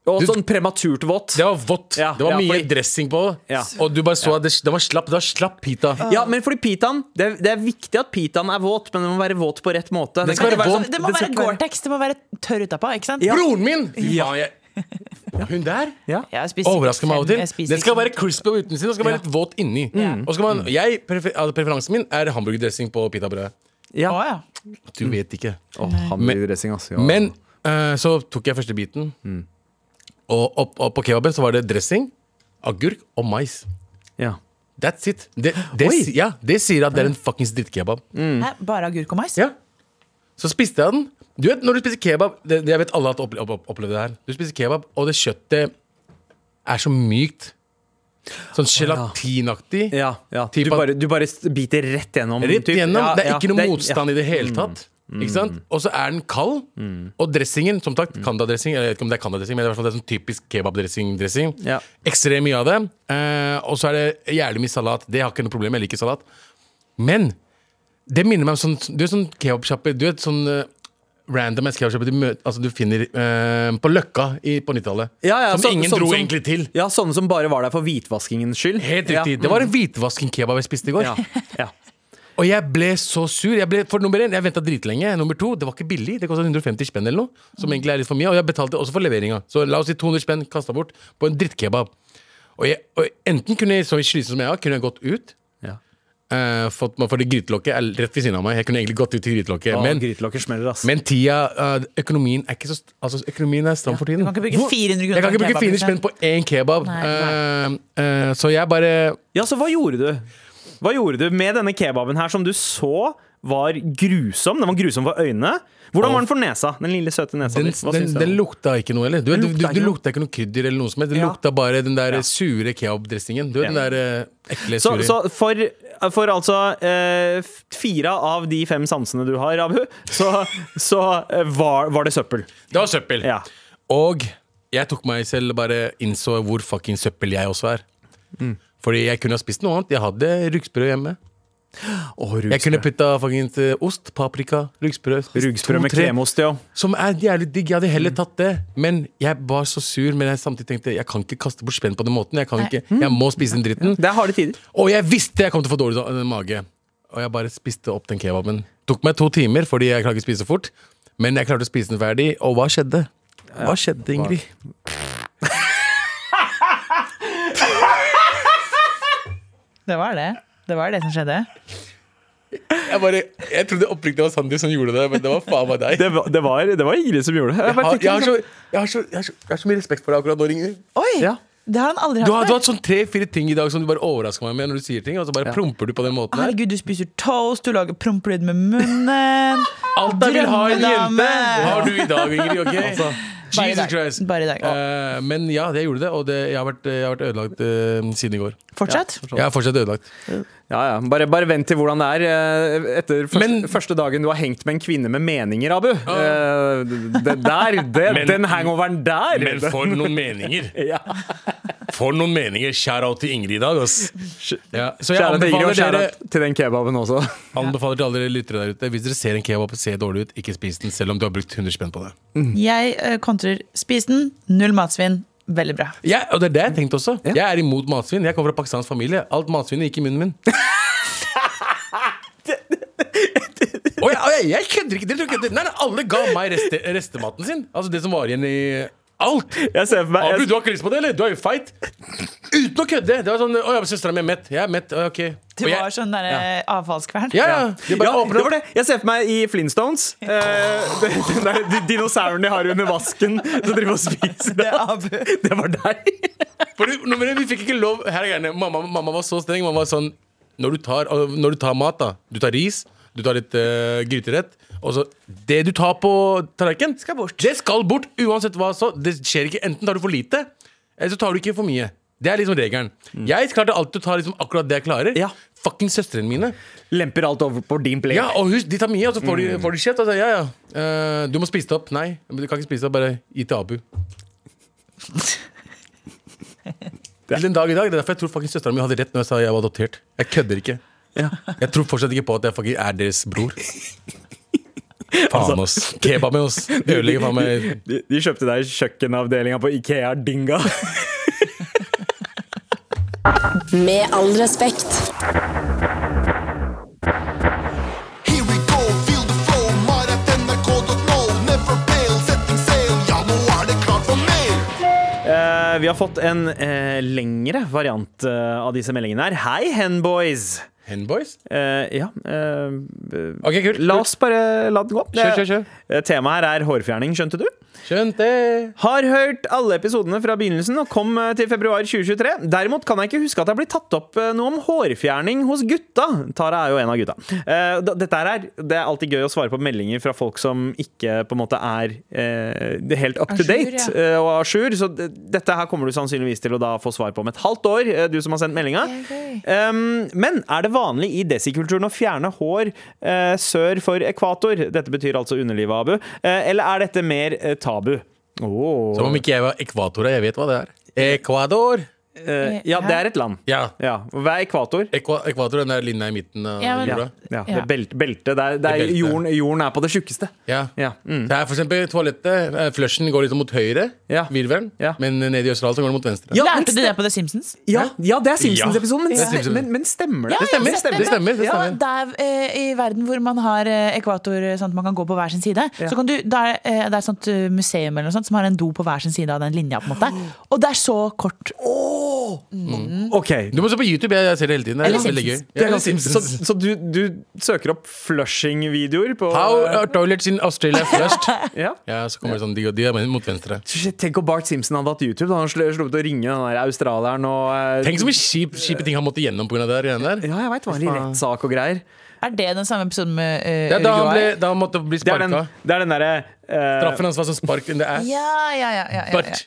Speaker 2: Og
Speaker 3: Du-
Speaker 2: sånn prematurt våt.
Speaker 3: Det var vått.
Speaker 2: Ja,
Speaker 3: det var
Speaker 2: ja,
Speaker 3: mye
Speaker 2: fordi-
Speaker 3: dressing på.
Speaker 2: Ja.
Speaker 3: Og du bare så at det, det var slapp. Det var slapp pita.
Speaker 2: Ja, men fordi pitaen det, er- det er viktig at pitaen er våt, men den må være våt på rett måte. Den
Speaker 3: skal
Speaker 2: kan
Speaker 3: være
Speaker 2: ikke
Speaker 3: våt.
Speaker 4: Det må
Speaker 2: den skal
Speaker 4: være
Speaker 2: ikke
Speaker 4: Gore-Tex. Det må være tørr utapå. ikke sant?
Speaker 3: Broren min! Fy faen, jeg... Hun der?
Speaker 2: Ja.
Speaker 4: Jeg spiser ikke
Speaker 3: Overrasker meg av og
Speaker 4: jeg
Speaker 3: til.
Speaker 4: spiser
Speaker 3: Den skal
Speaker 4: ikke- Mm.
Speaker 3: være crispy på utsiden og skal være litt våt inni. Og så skal man, jeg, prefer, altså, preferansen min er hamburgerdressing på pitabrødet.
Speaker 2: Ja.
Speaker 4: Å, ja. Mm.
Speaker 3: Du vet ikke.
Speaker 2: Å, hamburgerracing, ass. Ja.
Speaker 3: Men eh, så tok jeg første biten,
Speaker 4: Mm.
Speaker 3: og opp, opp på kebaben så var det dressing, agurk og mais.
Speaker 2: ja.
Speaker 3: That's it. Det, det,
Speaker 2: Oi.
Speaker 3: si- ja, det sier at det er en fuckings drittkebab.
Speaker 4: Hæ? Bare agurk og mais?
Speaker 3: Mm. Ja. Så spiste jeg den. Du vet, når du spiser kebab det, det- Jeg vet alle har opple opp- opp- opplevd det her. Du spiser kebab, og det kjøttet er så mykt. Sånn gelatinaktig.
Speaker 2: Ja, ja. Du,
Speaker 3: Typ at-
Speaker 2: bare, du bare biter rett gjennom.
Speaker 3: Rett
Speaker 2: typ.
Speaker 3: gjennom.
Speaker 2: Ja,
Speaker 3: det er
Speaker 2: ja,
Speaker 3: ikke noe
Speaker 2: ja. Mm,
Speaker 3: motstand i det hele tatt. Ikke sant? Og så er den kald. Og dressingen, som sagt,
Speaker 2: Mm.
Speaker 3: Kanda-dressing. eller Jeg vet ikke om det er Kanda-dressing, men det er, i hvert fall det er sånn typisk kebab-dressing.
Speaker 2: Ja.
Speaker 3: Ekstremt mye av det. Eh, og så er det jævlig mye salat. Det har ikke noe problem, jeg liker salat. Men det minner meg om sånn Du er sånn kebabsjappe Du vet sånn eh, random kebabsjappe du, mø- altså, du finner eh, på Løkka i, på 90-tallet.
Speaker 2: Ja, ja,
Speaker 3: som
Speaker 2: så-
Speaker 3: ingen
Speaker 2: sånn
Speaker 3: dro
Speaker 2: som-
Speaker 3: egentlig til.
Speaker 2: Ja, sånne som bare var der for hvitvaskingens skyld.
Speaker 3: Helt riktig.
Speaker 2: Ja. Mm.
Speaker 3: Det var en hvitvasking kebab jeg spiste i går.
Speaker 2: Ja. Ja.
Speaker 3: Og jeg ble så sur. Jeg ble, for nummer én, jeg venta dritlenge. Nummer to, det var ikke billig. Det kosta 150 spenn eller noe. Som egentlig er litt for mye. Og jeg betalte også for leveringa. Så la oss si 200 spenn kasta bort på en drittkebab. Og, jeg, og enten kunne jeg, så sliten som jeg var, kunne jeg gått ut.
Speaker 2: Ja.
Speaker 3: eh, fått meg for det grytelokket er rett ved siden av meg. Jeg kunne egentlig gått ut til grytelokket.
Speaker 2: Å,
Speaker 3: Men,
Speaker 2: grytelokker smeller, ass.
Speaker 3: men tida, eh, økonomien er ikke så st- Altså, økonomien er stram for tiden.
Speaker 4: Du kan ikke bruke
Speaker 3: Hvor-
Speaker 4: 400 kroner
Speaker 3: Jeg kan
Speaker 4: på en
Speaker 3: ikke bruke
Speaker 4: kebab,
Speaker 3: 400
Speaker 4: liksom.
Speaker 3: spenn på én kebab.
Speaker 4: Nei,
Speaker 3: Eh, eh, så jeg bare
Speaker 2: ja, så hva gjorde du? Hva gjorde du med denne kebaben her, som du så var grusom? Den var grusom for øynene. Hvordan var den for nesa? Den lille, søte nesa
Speaker 3: Den,
Speaker 2: di? Hva
Speaker 3: den,
Speaker 2: syns du
Speaker 3: den
Speaker 2: om
Speaker 3: lukta ikke noe, eller? Du, du,
Speaker 2: lukta
Speaker 3: du,
Speaker 2: ikke
Speaker 3: du
Speaker 2: noe.
Speaker 3: lukta ikke noe krydder eller noe som helst. Det
Speaker 2: Ja.
Speaker 3: lukta bare den der
Speaker 2: Ja.
Speaker 3: sure kebabdressingen. Du vet den
Speaker 2: Ja.
Speaker 3: der eh, ekle,
Speaker 2: Så,
Speaker 3: sure
Speaker 2: så for, for altså eh, f- fire av de fem sansene du har, Abu, så, så eh, var, var det søppel.
Speaker 3: Det var søppel!
Speaker 2: Ja.
Speaker 3: Og jeg tok meg selv bare innså hvor fucking søppel jeg også er.
Speaker 2: Mm.
Speaker 3: Fordi jeg kunne ha spist noe annet. Jeg hadde rugsprø hjemme. Jeg kunne putta fucking eh, ost, paprika, rugsprø. spist
Speaker 2: Rugsprø
Speaker 3: to,
Speaker 2: med Mm.
Speaker 3: tre,
Speaker 2: kremost, jo.
Speaker 3: Som er jævlig digg. Jeg hadde heller tatt det. Men jeg var så sur, men jeg samtidig tenkte jeg kan ikke kaste bort spenn på den måten. Jeg, kan ikke, jeg må spise den dritten.
Speaker 2: Det er harde tider.
Speaker 3: Og jeg visste jeg kom til å få dårlig eh, mage. Og jeg bare spiste opp den kebaben. Tok meg to timer, fordi jeg klarer ikke å spise så fort. Men jeg klarte å spise den ferdig. Og hva skjedde? Hva skjedde, Ingrid?
Speaker 4: Det var det. Det var det som skjedde.
Speaker 3: Jeg, bare, jeg trodde oppriktig det var Sandeep som gjorde det, men det var faen meg deg.
Speaker 2: Det var, det var, det var Ingrid som gjorde det. Jeg
Speaker 3: Jeg
Speaker 2: bare liksom-
Speaker 3: har,
Speaker 2: tenker
Speaker 3: jeg, har
Speaker 4: sånn.
Speaker 3: så, jeg, har så, jeg, har så, jeg har så mye respekt for deg akkurat nå, Ingrid.
Speaker 4: Oi!
Speaker 2: Ja.
Speaker 4: Det har han aldri
Speaker 3: Du har,
Speaker 4: hatt
Speaker 3: du
Speaker 4: før.
Speaker 3: har hatt sånn tre-fire ting i dag som du bare overrasker meg med når du sier ting, og så bare promper du på den måten her.
Speaker 4: Herregud, du spiser toast, du lager prompelyd med munnen.
Speaker 3: Alt jeg vil ha i en jente,
Speaker 4: Drømmedame. Altså,
Speaker 3: har du i dag, Ingrid. ok?
Speaker 4: Bare i
Speaker 3: Jesus
Speaker 4: dag.
Speaker 3: Christ.
Speaker 4: Bare i dag.
Speaker 3: Eh, men ja, det gjorde det, og det, jeg, har vært, jeg har vært ødelagt eh, siden i går.
Speaker 4: Fortsett.
Speaker 2: Ja,
Speaker 3: Jeg er fortsatt ødelagt.
Speaker 2: Ja, ja. Bare, bare vent til hvordan det er eh, etter første,
Speaker 3: Men-
Speaker 2: første dagen du har hengt med en kvinne med meninger, Abu. Eh, Den der, det,
Speaker 3: Men-
Speaker 2: den hangoveren der!
Speaker 3: Men for noen meninger!
Speaker 2: Ja.
Speaker 3: For noen meninger! Shout-out til Ingrid i dag, ass. Ja, så
Speaker 2: Kjære til
Speaker 3: jeg
Speaker 2: Ingrid, og
Speaker 3: anbefaler,
Speaker 2: kjære
Speaker 3: dere,
Speaker 2: til den kebaben også.
Speaker 3: anbefaler til alle dere lyttere der ute, hvis dere ser en kebab og ser dårlig ut, ikke spis den, selv om du har brukt 100 spenn på det.
Speaker 4: Jeg eh, kontrer spis den, null matsvinn. Veldig bra.
Speaker 3: Jeg, og det er det jeg tenkte også. Jeg er imot matsvinn. Jeg kommer fra pakistansk familie. Alt matsvinnet gikk i munnen min. Og jeg, og jeg, jeg kødder ikke! Dere tror ikke jeg kødder. Nei, nei, alle ga meg reste, restematen sin. Altså det som var igjen i alt.
Speaker 2: Jeg ser for meg
Speaker 3: Abu,
Speaker 2: jeg,
Speaker 3: du har ikke lyst på det, eller? Du er jo feit. Uten å kødde! Det var sånn Å ja, søstera mi er mett. Jeg er mett. Å, ja, ok.
Speaker 4: Det
Speaker 3: Og jeg,
Speaker 4: var sånn der, eh, avfallskvern.
Speaker 3: ja, ja. De
Speaker 2: ja,
Speaker 3: bare
Speaker 2: det
Speaker 3: åpner
Speaker 2: var
Speaker 3: opp.
Speaker 2: det. Jeg ser for meg i Flintstones. Eh, den den der, de dinosauren de har under vasken som driver og spiser det. Det var deg.
Speaker 3: Fordi, nå, men vi fikk ikke lov. Her er greiene. Mamma, mamma var så streng. Mamma var sånn når du, tar, og når du tar mat, da. Du tar ris, du tar litt eh, gryterett. Og så Det du tar på tallerkenen, skal bort. Det skal bort uansett hva så. Det skjer ikke. Enten tar du for lite, eller så tar du ikke for mye. Det er liksom regelen. Jeg klarte alltid å ta liksom akkurat det jeg klarer.
Speaker 2: Mm. Ja.
Speaker 3: Fucking søstrene mine.
Speaker 2: Lemper alt over på din plate.
Speaker 3: Ja, og husk, De tar mye, og så får de,
Speaker 2: Mm.
Speaker 3: får de kjeft. Altså, ja, ja. Eh, du må spise det opp. Nei, du kan ikke spise det opp. Bare gi til Abu. Til den dag i dag. Det er derfor jeg tror faktisk søstera mi hadde rett når jeg sa jeg var adoptert. Jeg kødder ikke. Jeg tror fortsatt ikke på at jeg faktisk er deres bror.
Speaker 2: Altså-
Speaker 3: Faen, ass. Kebaben, ass. Ødelegger faen meg
Speaker 2: De, de kjøpte deg kjøkkenavdelinga på Ikea Dinga.
Speaker 1: Med all respekt.
Speaker 5: Here we go, feel the flow, mar at nrk.no. Never fail, setting sail, ja, nå er det klart for mer.
Speaker 2: Eh, vi har fått en eh, lengre variant eh, av disse meldingene her. Hei, Henboys!
Speaker 3: Henboys?
Speaker 2: Eh, ja eh,
Speaker 3: Ok, kult.
Speaker 2: La oss bare la den gå.
Speaker 3: Kjør, kjør, kjør.
Speaker 2: Eh, Temaet her er hårfjerning, skjønte du?
Speaker 3: Skjønt det.
Speaker 2: Har hørt alle episodene fra begynnelsen og kom eh, til februar 2023. Derimot kan jeg ikke huske at det har blitt tatt opp eh, noe om hårfjerning hos gutta. Tara er jo en av gutta. Eh, da- Dette her er, det er alltid gøy å svare på meldinger fra folk som ikke på en måte er eh, det helt up to
Speaker 4: Ajour,
Speaker 2: date eh,
Speaker 4: ja.
Speaker 2: og à jour. Så det- dette her kommer du sannsynligvis til å da få svar på om et halvt år, eh, du som har sendt meldinga. Um, men er det vanlig i desikulturen å fjerne hår eh, sør for ekvator? Dette betyr altså underlivet, Abu. Eh, eller er dette mer eh, tabu? Åh.
Speaker 3: Som om ikke jeg var ekvator, jeg vet hva det er. Ecuador!
Speaker 2: Eh, ja, det er et land.
Speaker 3: Ja.
Speaker 2: Ja, Hva er ekvator?
Speaker 3: Ekva ekvator, den der linja i midten av
Speaker 4: Ja, men-
Speaker 2: Ja,
Speaker 3: jorda.
Speaker 2: ja.
Speaker 4: Ja.
Speaker 2: det Belt, belte. Det er, det er,
Speaker 3: Det er belte.
Speaker 2: jorden, jorden er på det tjukkeste.
Speaker 3: Ja.
Speaker 2: Ja. Mm.
Speaker 3: Det er for eksempel toalettet. eh, Flushen går litt mot høyre,
Speaker 2: Ja.
Speaker 3: virvelen,
Speaker 2: Ja.
Speaker 3: men nede i Østerdal så går den mot venstre.
Speaker 2: Ja, men
Speaker 4: Lærte du
Speaker 2: stem-
Speaker 4: det på The Simpsons?
Speaker 2: ja, ja, det er Simpsons-episoden, men,
Speaker 3: Ja.
Speaker 2: ste- men, men stemmer det?
Speaker 4: Ja,
Speaker 2: det stemmer.
Speaker 4: ja,
Speaker 2: det stemmer.
Speaker 3: Det stemmer. Det
Speaker 4: Ja,
Speaker 3: stemmer.
Speaker 4: der, eh, I verden hvor man har eh, ekvator, eh, sånn at man kan gå på hver sin side Så kan du, det, er, eh, det er et sånt eh, museum eller noe sånt, som har en do på hver sin side av den linja. på en måte Og det er så kort.
Speaker 2: Ok.
Speaker 3: Du må se på YouTube, jeg, jeg ser det hele tiden. Det er
Speaker 4: Eller
Speaker 3: veldig gøy.
Speaker 4: Simpsons.
Speaker 3: Ja, eller
Speaker 2: Så,
Speaker 3: Simpsons.
Speaker 2: så du, du søker opp flushing-videoer på
Speaker 3: How are toilets in Australia flushed?
Speaker 2: Ja.
Speaker 3: ja, så kommer det sånn, de, de er mot venstre.
Speaker 2: Shit, Tenk om Bart Simpson hadde hatt YouTube. Da hadde han sl- sluppet å ringe den der australieren og eh,
Speaker 3: Tenk så mye kjip, kjipe ting han måtte gjennom pga. det der. greiene der.
Speaker 2: Ja, jeg veit. Var i rettssak og greier.
Speaker 4: Er det den samme episoden med eh,
Speaker 3: Det er da han, ble,
Speaker 4: Uruguay?
Speaker 3: da han måtte bli
Speaker 2: Det er den,
Speaker 3: sparka.
Speaker 2: det er den derre eh,
Speaker 3: Straffen hans var som spark in the ass.
Speaker 4: Ja, ja, ja, ja, ja,
Speaker 3: But
Speaker 4: ja.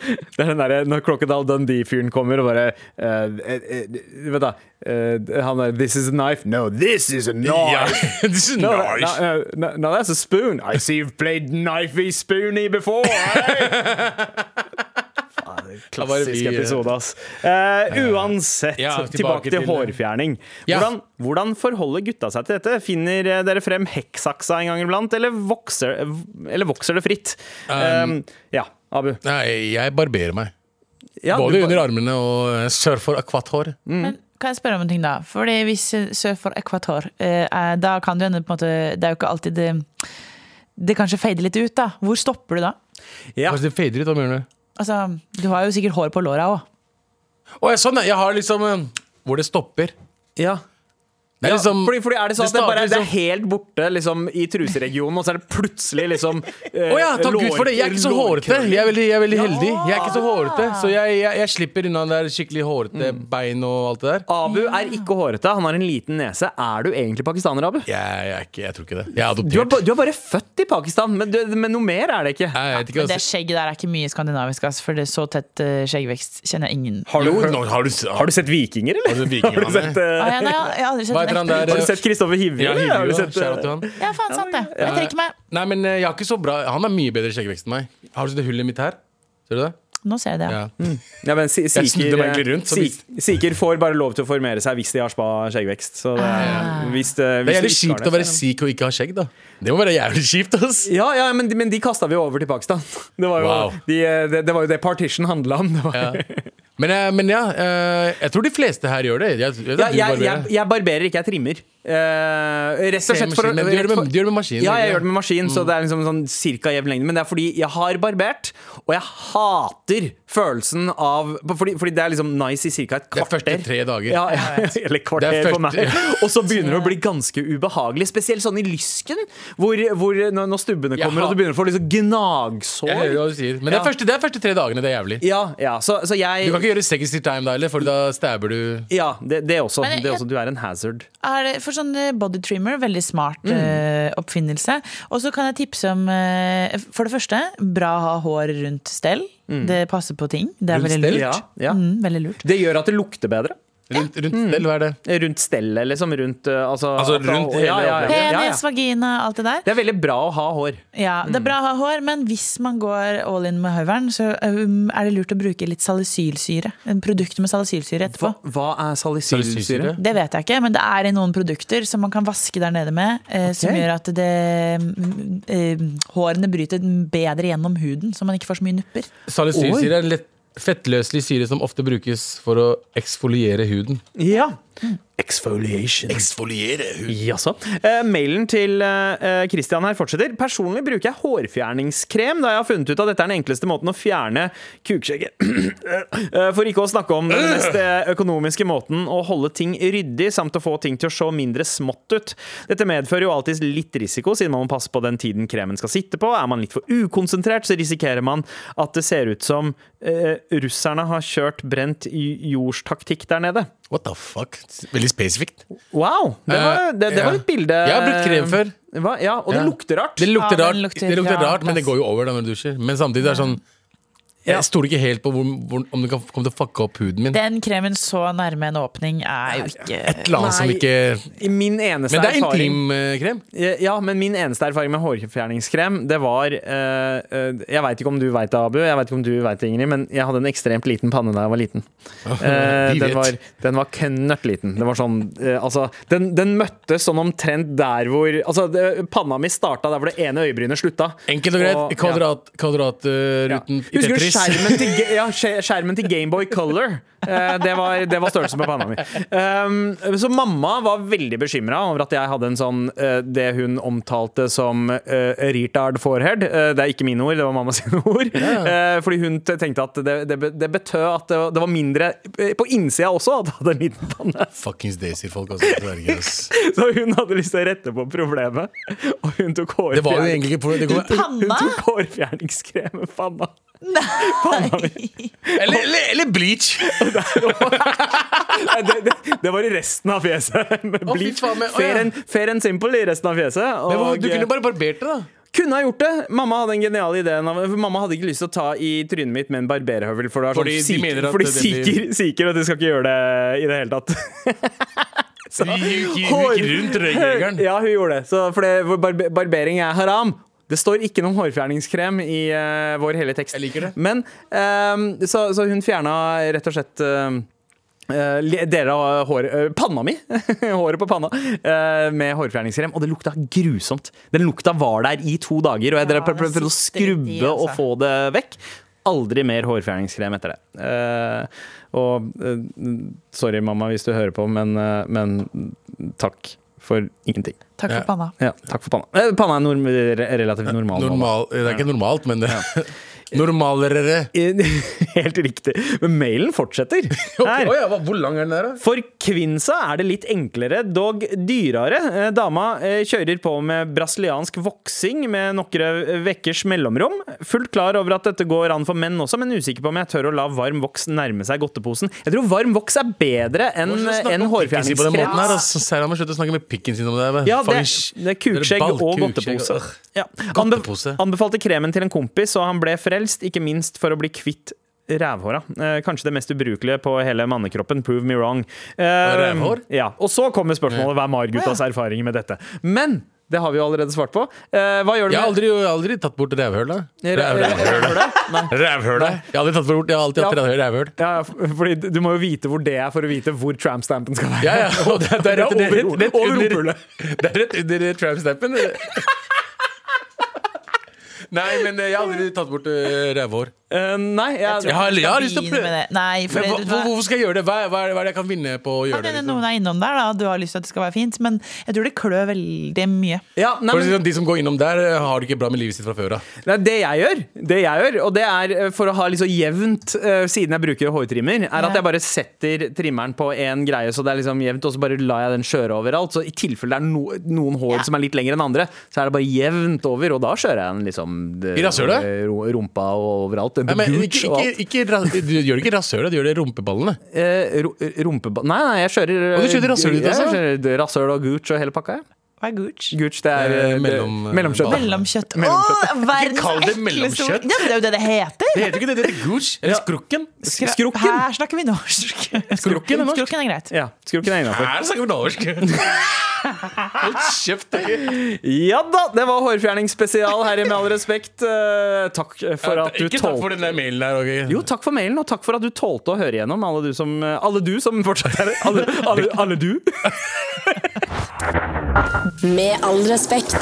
Speaker 2: Det er den derre når Crocodile Dundee-fyren kommer og bare eh, eh, eh, Vet da. eh, han er This is a knife. No, this is a knife.
Speaker 3: ja. This is
Speaker 2: No,
Speaker 3: nice.
Speaker 2: no, no, no, that's a altså, spoon. I see you've played knifey spoony before. Klassisk
Speaker 3: vi, eh,
Speaker 2: episode, ass. Eh, uansett,
Speaker 3: Ja,
Speaker 2: tilbake,
Speaker 3: tilbake
Speaker 2: til
Speaker 3: til- eh,
Speaker 2: hårfjerning.
Speaker 3: Ja.
Speaker 2: Hvordan, hvordan forholder gutta seg til dette? Finner eh, dere frem hekksaksa en gang iblant, eller vokser, eller vokser det fritt?
Speaker 3: Um,
Speaker 2: Eh, ja, Abu.
Speaker 3: Nei, jeg barberer meg.
Speaker 2: Ja, du
Speaker 3: Både
Speaker 2: ba-
Speaker 3: under armene og eh, sør for akvatthår.
Speaker 4: Men kan jeg spørre om en ting, da? Fordi hvis eh, sør for ekvator, eh, er- da kan det jo hende på en måte Det er jo ikke alltid det Det kanskje fader litt ut, da. Hvor stopper du da?
Speaker 2: Ja.
Speaker 3: Altså, det fader ut, hva mener du?
Speaker 4: Altså, Du har jo sikkert hår på låra òg.
Speaker 3: Å, ja, sånn, ja. jeg har liksom eh, Hvor det stopper.
Speaker 2: Ja.
Speaker 3: Det er liksom
Speaker 2: fordi, fordi er det sånn
Speaker 3: det
Speaker 2: at det, bare,
Speaker 3: starter
Speaker 2: det er helt borte liksom, i truseregionen, og så er det plutselig liksom eh,
Speaker 3: Å ja, takk Gud for det! Jeg er ikke så hårete. Jeg er veldig, jeg er veldig heldig. Jeg er ikke så hårete, Så jeg, jeg, jeg slipper unna det der skikkelig hårete
Speaker 2: Mm.
Speaker 3: bein og alt det der.
Speaker 2: Abu er ikke hårete, han har en liten nese. Er du egentlig pakistaner, Abu?
Speaker 3: Jeg, jeg, er ikke, jeg tror ikke det. Jeg er
Speaker 2: Du er,
Speaker 3: adoptert.
Speaker 2: ba, du er bare født i Pakistan, men, du, men noe mer er det ikke.
Speaker 3: Jeg vet ikke,
Speaker 4: Men det
Speaker 3: altså.
Speaker 4: skjegget der er ikke mye skandinavisk, ass, for det er så tett eh, skjeggvekst kjenner jeg ingen.
Speaker 2: Har du,
Speaker 3: Jo,
Speaker 2: hørt-
Speaker 3: nå har du,
Speaker 2: har du sett Vikinger, eller?
Speaker 3: Har du sett Vikingene?
Speaker 2: Har du sett, eh,
Speaker 4: Ah, ja, nei, jeg har aldri sett
Speaker 3: Hva heter
Speaker 4: en
Speaker 3: han
Speaker 4: ekte-
Speaker 3: der?
Speaker 2: har du sett Kristoffer Hivju?
Speaker 3: Ja,
Speaker 2: eller? Har du
Speaker 3: Hivju,
Speaker 2: sett, eh,
Speaker 3: shout out til han.
Speaker 4: Ja, faen sant det. Jeg trekker meg.
Speaker 3: Nei, men eh, jeg har ikke så bra Han er mye bedre skjeggvekst enn meg. Har du sett det hullet mitt her? Ser du det?
Speaker 4: Nå ser jeg det. Ja.
Speaker 3: Ja.
Speaker 2: Ja, men si-
Speaker 3: snudde
Speaker 2: siker,
Speaker 3: meg egentlig rundt, så
Speaker 2: sik-
Speaker 3: hvis-
Speaker 2: siker får bare lov til å formere seg hvis de har spa skjeggvekst. Så det, er- hvis, det-
Speaker 3: Ah. Det er
Speaker 2: hvis de
Speaker 3: jævlig
Speaker 2: ikke har
Speaker 3: kjipt å
Speaker 2: det,
Speaker 3: være
Speaker 2: så-
Speaker 3: sikh og ikke ha skjegg, da. Det må være jævlig kjipt, ass.
Speaker 2: Ja, ja men, de, men de kasta vi jo over til Pakistan. Det var jo,
Speaker 3: Wow.
Speaker 2: de, eh, det, det, var jo det partition handla om. Det var.
Speaker 3: Ja. Men, eh, men ja, eh, jeg tror de fleste her gjør det. Jeg, jeg,
Speaker 2: Ja,
Speaker 3: jeg,
Speaker 2: jeg, jeg, jeg barberer ikke, jeg trimmer. Eh, rett og slett for, å-
Speaker 3: du, gjør det med, du gjør det med maskin. Mm.
Speaker 2: Ja,
Speaker 3: ikke
Speaker 2: jeg gjør
Speaker 3: det?
Speaker 2: det med maskin, så det er liksom sånn cirka jevn lengde. Men det er fordi jeg har barbert, og jeg hater følelsen av Fordi, fordi det er liksom nice i cirka et
Speaker 3: Det er
Speaker 2: kvarter.
Speaker 3: første tre dager.
Speaker 2: Ja, ja. Eller kvarter
Speaker 3: Det er
Speaker 2: for meg.
Speaker 3: første-
Speaker 2: Og så begynner det å bli ganske ubehagelig. Spesielt sånn i lysken, hvor, hvor når, når stubbene
Speaker 3: Jeg
Speaker 2: kommer,
Speaker 3: har-
Speaker 2: og du begynner å få liksom gnagsår.
Speaker 3: Jeg hører hva du sier. Men det er
Speaker 2: Ja.
Speaker 3: første, det er første tre dagene. Det er jævlig.
Speaker 2: Ja, ja, så, så jeg
Speaker 3: Du kan ikke gjøre sexy time da heller, for da stabber du
Speaker 2: Ja, det, det, også,
Speaker 4: Men jeg-
Speaker 2: det også. Du er en hazard.
Speaker 4: Er det for sånn eh, body trimmer, veldig smart
Speaker 3: Mm.
Speaker 4: eh, oppfinnelse. Og så kan jeg tipse om eh, For det første, bra å ha hår rundt stell. Det passer på ting. Det er
Speaker 3: Mm. Rundt
Speaker 4: veldig
Speaker 3: stell?
Speaker 4: lurt.
Speaker 2: Ja, ja.
Speaker 4: Mm, veldig lurt.
Speaker 2: Det gjør at det lukter bedre.
Speaker 3: Rundt, rundt stell, hva er det?
Speaker 2: Rundt stellet, liksom. Rundt eh, Altså,
Speaker 3: Altså,
Speaker 2: at det er
Speaker 3: rundt
Speaker 2: hår.
Speaker 3: hele
Speaker 2: ja, ja, ja.
Speaker 4: Penis,
Speaker 2: ja, ja.
Speaker 4: vagina, alt det der.
Speaker 2: Det er veldig bra å ha hår.
Speaker 4: Ja, Det er bra å ha hår, men hvis man går all in med høveren, så um, er det lurt å bruke litt salicylsyre. En produkt med salicylsyre etterpå.
Speaker 2: Hva er salicylsyre?
Speaker 3: Salicylsyre?
Speaker 4: Det vet jeg ikke, men det er i noen produkter som man kan vaske der nede med, eh, som
Speaker 2: Ok.
Speaker 4: gjør at det, mm, eh, hårene bryter bedre gjennom huden, så man ikke får så mye nupper.
Speaker 3: Salicylsyre er en lett fettløselig syre som ofte brukes for å eksfoliere huden.
Speaker 2: Ja. Exfoliation.
Speaker 3: Eksfoliere huden?
Speaker 2: Jaså. Eh, mailen til eh, Christian her fortsetter. Personlig bruker jeg hårfjerningskrem, da jeg har funnet ut at dette er den enkleste måten å fjerne kukskjegget Eh, For ikke å snakke om den mest eh, økonomiske måten å holde ting ryddig, samt å få ting til å se mindre smått ut. Dette medfører jo alltid litt risiko, siden man må passe på den tiden kremen skal sitte på. Er man litt for ukonsentrert, så risikerer man at det ser ut som eh, russerne har kjørt brent j- jordstaktikk der nede.
Speaker 3: What the fuck? Veldig spesifikt.
Speaker 2: Wow! Det var,
Speaker 3: Eh,
Speaker 2: det, det var
Speaker 3: ja.
Speaker 2: et bilde
Speaker 3: Jeg har brukt krem før.
Speaker 2: Hva? Ja, og det
Speaker 3: Ja.
Speaker 2: lukter rart.
Speaker 3: Det lukter
Speaker 4: Ja,
Speaker 3: rart,
Speaker 4: den lukter
Speaker 3: det lukter
Speaker 4: rar
Speaker 3: rart men det
Speaker 4: plass.
Speaker 3: går jo over da når du dusjer. Men samtidig er det sånn
Speaker 2: Ja.
Speaker 3: Jeg stoler ikke helt på hvor, hvor, om det kan komme til å fucke opp huden min.
Speaker 4: Den kremen så nærme en åpning er jo
Speaker 3: Et
Speaker 4: ikke
Speaker 3: eller annet som
Speaker 2: Nei.
Speaker 3: ikke
Speaker 2: Min eneste
Speaker 3: Men det er
Speaker 2: erfaring
Speaker 3: intimkrem.
Speaker 2: Ja, men min eneste erfaring med hårfjerningskrem, det var eh, eh, Jeg veit ikke om du veit det, Abu, jeg vet ikke om du vet det, Ingrid, men jeg hadde en ekstremt liten panne da jeg var liten. Eh,
Speaker 3: Vi
Speaker 2: den
Speaker 3: vet.
Speaker 2: var, den var knøttliten. Det var sånn eh, Altså, den, den møtte sånn omtrent der hvor Altså, det, panna mi starta der hvor det ene øyebrynet slutta.
Speaker 3: Enkelt og greit.
Speaker 2: ja.
Speaker 3: Kvadrat,
Speaker 2: Ja.
Speaker 3: Kvadratruten i
Speaker 2: Husker du
Speaker 3: Tetris.
Speaker 2: skjermen til, Ga- ja, skje- skjermen til Gameboy Color? Eh, det, var, det var størrelsen på panna mi. Um, så mamma var veldig bekymra over at jeg hadde en sånn eh, det hun omtalte som uh, retard forehead. Eh, det er ikke mine ord, det var mamma sine ord. Eh, fordi hun t- tenkte at det, det, be- det betød at det, var- det var mindre eh, på innsida også at jeg hadde en liten panne.
Speaker 3: Fuckings Daisy-folk, altså. Sverige, ass.
Speaker 2: Så hun hadde lyst til å rette på problemet, og hun tok
Speaker 3: Det var jo
Speaker 2: hårfjerning.
Speaker 3: egentlig ikke pro- det går-
Speaker 2: Hun
Speaker 4: Panna?
Speaker 2: tok hårfjerningskrem med panna.
Speaker 3: Eller, eller, eller bleach!
Speaker 2: Nei, det, det, det var i resten av fjeset. Med
Speaker 3: fy
Speaker 2: bleach.
Speaker 3: faen, men- å,
Speaker 2: fair,
Speaker 3: ja.
Speaker 2: and, fair and simple i resten av fjeset. Og, eh,
Speaker 3: Men hvorfor- Du kunne bare barbert det, da.
Speaker 2: kunne ha gjort det! Mamma hadde en genial idé. for Mamma hadde ikke lyst til å ta i trynet mitt med en barberhøvel. For det er
Speaker 3: Fordi
Speaker 2: sånn
Speaker 3: de mener
Speaker 2: siker,
Speaker 3: at
Speaker 2: fordi
Speaker 3: det blir-
Speaker 2: siker, siker, og de skal ikke gjøre det i det hele tatt.
Speaker 3: Du gikk gikk
Speaker 2: Hår-
Speaker 3: rundt røykjegeren.
Speaker 2: Ja, hun gjorde det. Så, for det, hvor barbe barbering er haram. Det står ikke noen hårfjerningskrem i eh, vår hele tekst.
Speaker 3: Jeg liker det.
Speaker 2: Men, ehm, så, så hun fjerna rett og slett ehm, eh, le- deler av håret eh, Panna mi! håret på panna. eh, med hårfjerningskrem. Og det lukta grusomt. Den lukta var der i to dager, og jeg drev
Speaker 4: Ja,
Speaker 2: prøv- prøvde å
Speaker 4: den sitter i,
Speaker 2: skrubbe
Speaker 4: altså.
Speaker 2: og få det vekk. Aldri mer hårfjerningskrem etter det. Eh, og eh, sorry, mamma, hvis du hører på, men, eh, men takk for ingenting.
Speaker 4: Takk for
Speaker 3: Ja.
Speaker 4: panna.
Speaker 2: Ja, takk for panna. Eh, Panna er norm re- relativt normal. nå, da.
Speaker 3: Normal, det er ikke normalt, men det Normalere.
Speaker 2: Helt riktig. Men mailen fortsetter. Her.
Speaker 3: ja, hvor lang er den der, da?
Speaker 2: For kvinsa er det litt enklere, dog dyrere. Eh, Dama eh, kjører på med brasiliansk voksing med noen vekkers mellomrom. Fullt klar over at dette går an for menn også, men usikker på om jeg tør å la varm voks nærme seg godteposen. Jeg tror varm voks er bedre enn en
Speaker 3: På den måten
Speaker 2: hårfjerningskrem.
Speaker 3: her, altså. Sarah må slutte å snakke med pikken sin om det. her,
Speaker 2: Ja, det,
Speaker 3: Fucking-
Speaker 2: det er kukskjegg og
Speaker 3: Dere ball- kukskjegg,
Speaker 2: godtepose.
Speaker 3: øh.
Speaker 2: Ja. Anbe-
Speaker 3: Godtepose.
Speaker 2: Anbefalte kremen til en kompis, og han ble frelst, ikke minst for å bli kvitt rævhåra. Eh, kanskje det mest ubrukelige på hele mannekroppen. Prove me wrong. Eh,
Speaker 3: Rævhår?
Speaker 2: ja. Og så kommer spørsmålet hva er Margutas erfaringer med dette. Men det har vi jo allerede svart på. Eh, hva gjør du
Speaker 3: Jeg har
Speaker 2: med
Speaker 3: aldri, jeg har aldri tatt bort rævhøla.
Speaker 2: Ræ- rævhølet? Nei.
Speaker 3: Rævhøla? Jeg har aldri tatt bort, jeg har alltid hatt
Speaker 2: Ja.
Speaker 3: rævhøl- rævhøl.
Speaker 2: Ja, ja, fordi du må jo vite hvor det er for å vite hvor tramp-stampen skal være.
Speaker 3: Ja, ja. og Det det er rett, det er rett, rett
Speaker 2: Over
Speaker 3: under,
Speaker 2: rumpehullet.
Speaker 3: det er rett under tramp-snappen. Nei, men eh, jeg har aldri tatt bort eh, rævhår.
Speaker 2: Eh, nei, jeg,
Speaker 3: Jeg har, jeg har lyst til å
Speaker 4: Begynn med
Speaker 3: prøve.
Speaker 4: det. Nei, for
Speaker 3: Men hva,
Speaker 4: det,
Speaker 3: hvor- hvorfor skal jeg gjøre det? Hva, er- hva, er, hva er det jeg kan vinne på å gjøre
Speaker 4: Kan
Speaker 3: det?
Speaker 4: hende
Speaker 3: Liksom?
Speaker 4: noen er innom der, da. Du har lyst til at det skal være fint, men jeg tror det klør veldig mye.
Speaker 2: ja, nei,
Speaker 3: For å si
Speaker 2: men,
Speaker 3: sånn, de som går innom der, eh, har det ikke bra med livet sitt fra før av.
Speaker 2: Nei, det jeg gjør, det jeg gjør og det er eh, for å ha liksom jevnt eh, siden jeg bruker hårtrimmer, er at jeg bare setter trimmeren på én greie, så det er liksom jevnt, og så bare lar jeg den kjøre overalt. Så i tilfelle det er no, noen hår
Speaker 4: Ja.
Speaker 2: som er litt lengre enn andre, så er det bare jevnt over, og da kjører jeg den liksom det-
Speaker 3: I rasshølet?
Speaker 2: ro- Rumpa og overalt.
Speaker 3: Nei, men, ikke,
Speaker 2: Gooch og alt.
Speaker 3: ikke, ikke, ra- du gjør det ikke rasshøla, du gjør det i rumpeballene.
Speaker 2: Eh, ro- Rumpe... Nei, nei, jeg kjører
Speaker 3: Og du kjører rasshølet ditt,
Speaker 2: Ja,
Speaker 3: altså?
Speaker 2: Jeg kjører rasshøl og gooch og hele pakka, jeg.
Speaker 4: Hva er gooch?
Speaker 2: Gooch, det er
Speaker 3: Eh,
Speaker 2: eh, det-
Speaker 3: mellom-
Speaker 2: mellomkjøtt.
Speaker 4: Mellomkjøtt.
Speaker 2: Mellomkjøtt.
Speaker 4: Åh, verdens
Speaker 3: Kall det
Speaker 4: ekleste ord.
Speaker 3: mellomkjøtt.
Speaker 4: Ja, men det er jo det det heter.
Speaker 3: Det heter ikke det, det heter gooch. Eller skrukken.
Speaker 4: Skra-
Speaker 2: Skrukken.
Speaker 4: Her snakker vi norsk.
Speaker 3: Skrukken er norsk.
Speaker 4: Skrukken er greit.
Speaker 2: Ja, skrukken er innafor.
Speaker 3: Her snakker vi norsk. Hold kjeft.
Speaker 2: Ja da, det var hårfjerningsspesial her i Med all respekt. Eh, takk for at du
Speaker 3: Ikke takk for
Speaker 2: tålte
Speaker 3: den der mailen der. Okay?
Speaker 2: jo, takk for mailen, og takk for at du tålte å høre igjennom. Alle du som, alle du som fortsatt er alle, alle, alle du.
Speaker 1: Med all respekt.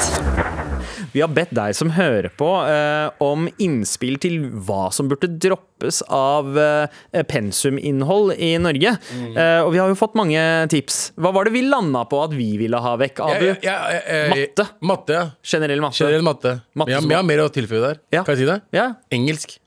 Speaker 2: Vi har bedt deg som hører på eh, om innspill til hva som burde droppes av eh, pensuminnhold i Norge.
Speaker 3: Mm.
Speaker 2: Eh, og vi har jo fått mange tips. Hva var det vi landa på at vi ville ha vekk, Abu?
Speaker 3: Jeg- jeg- jeg- jeg-
Speaker 2: Matte.
Speaker 3: Matte, ja.
Speaker 2: Generell matte.
Speaker 3: Generell matte.
Speaker 2: Matte
Speaker 3: Men jeg,
Speaker 2: som-
Speaker 3: men jeg har mer å tilføye der.
Speaker 2: Ja.
Speaker 3: Kan jeg si det?
Speaker 2: Ja.
Speaker 3: Engelsk.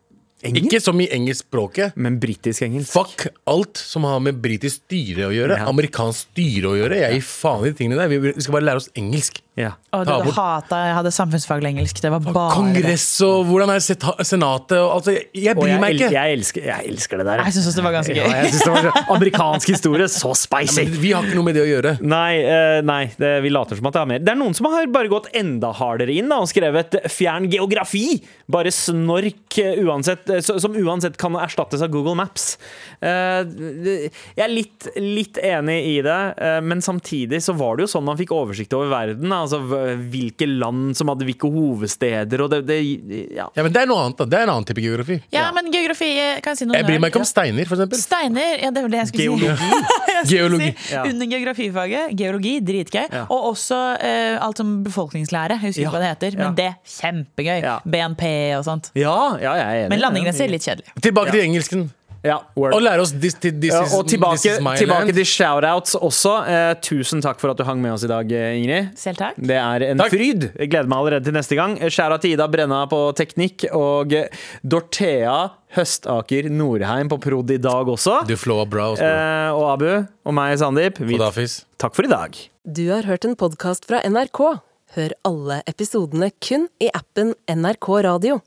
Speaker 2: Engelsk?
Speaker 3: Ikke som i engelskspråket.
Speaker 2: Men britisk engelsk.
Speaker 3: Fuck alt som har med britisk styre å gjøre.
Speaker 2: Ja.
Speaker 3: Amerikansk styre å gjøre. Jeg gir faen i de tingene der. Vi- Vi skal bare lære oss engelsk.
Speaker 2: Ja.
Speaker 4: Å, du
Speaker 3: Ta
Speaker 4: hadde
Speaker 3: bort.
Speaker 4: hata jeg hadde samfunnsfaglig engelsk. Det var bare det.
Speaker 3: Kongress og hvordan er seta- senatet og altså, Jeg, jeg
Speaker 2: Og
Speaker 3: bryr
Speaker 2: jeg,
Speaker 3: meg
Speaker 2: el
Speaker 3: ikke.
Speaker 2: jeg, elsker, jeg elsker det der.
Speaker 4: Jeg syns også det var ganske
Speaker 2: Ja,
Speaker 4: gøy.
Speaker 2: jeg synes det var så, amerikansk historie, så spicy!
Speaker 3: Men Vi har ikke noe med det å gjøre.
Speaker 2: Nei, eh, nei det, vi later som at det er mer. Det er noen som har bare gått enda hardere inn da, og skrevet 'fjern geografi'. Bare snork, eh, uansett, eh, så- som uansett kan erstattes av Google Maps. Eh, det- jeg er litt, litt enig i det, eh, men samtidig så var det jo sånn man fikk oversikt over verden. da, Altså v- hvilke land som hadde hvilke hovedsteder, og det, det ja.
Speaker 3: Ja, men Det er noe annet da, det er en annen type geografi.
Speaker 4: Ja, men geografi eh, Kan jeg si noe?
Speaker 3: Jeg bryr meg ikke om
Speaker 4: nerd?
Speaker 3: steiner, for eksempel.
Speaker 4: Steiner, ja, det var det jeg skulle si.
Speaker 2: Geologi.
Speaker 4: Jeg skulle
Speaker 3: Geologi.
Speaker 4: Si,
Speaker 2: Ja.
Speaker 4: under geografifaget. Geologi, dritgøy.
Speaker 2: Ja.
Speaker 4: Og også eh, alt som befolkningslære. Jeg husker
Speaker 2: Ja.
Speaker 4: ikke hva det heter, men
Speaker 2: Ja.
Speaker 4: det kjempegøy.
Speaker 2: Ja.
Speaker 4: BNP og sånt.
Speaker 2: Ja, ja, jeg er enig.
Speaker 4: Men landingene er litt kjedelig.
Speaker 3: Tilbake til engelsken.
Speaker 2: Ja, word.
Speaker 3: Og lære oss this, this, this,
Speaker 2: Ja,
Speaker 3: is-
Speaker 2: og
Speaker 3: this
Speaker 2: tilbake,
Speaker 3: is my
Speaker 2: tilbake
Speaker 3: land.
Speaker 2: til shoutouts også. Eh, tusen takk for at du hang med oss i dag, eh, Ingrid.
Speaker 4: Selv takk.
Speaker 2: Det er en
Speaker 3: Takk.
Speaker 2: fryd. Jeg gleder meg allerede til neste gang. Skjæra til Ida Brenna på teknikk og eh, Dorthea Høstaker Norheim på prod i dag også.
Speaker 3: Du flow up brows, bro.
Speaker 2: Eh, og Abu og meg, Sandeep. Vi,
Speaker 3: Fadafis.
Speaker 2: takk for i dag.
Speaker 6: Du har hørt en podkast fra NRK. Hør alle episodene kun i appen NRK Radio.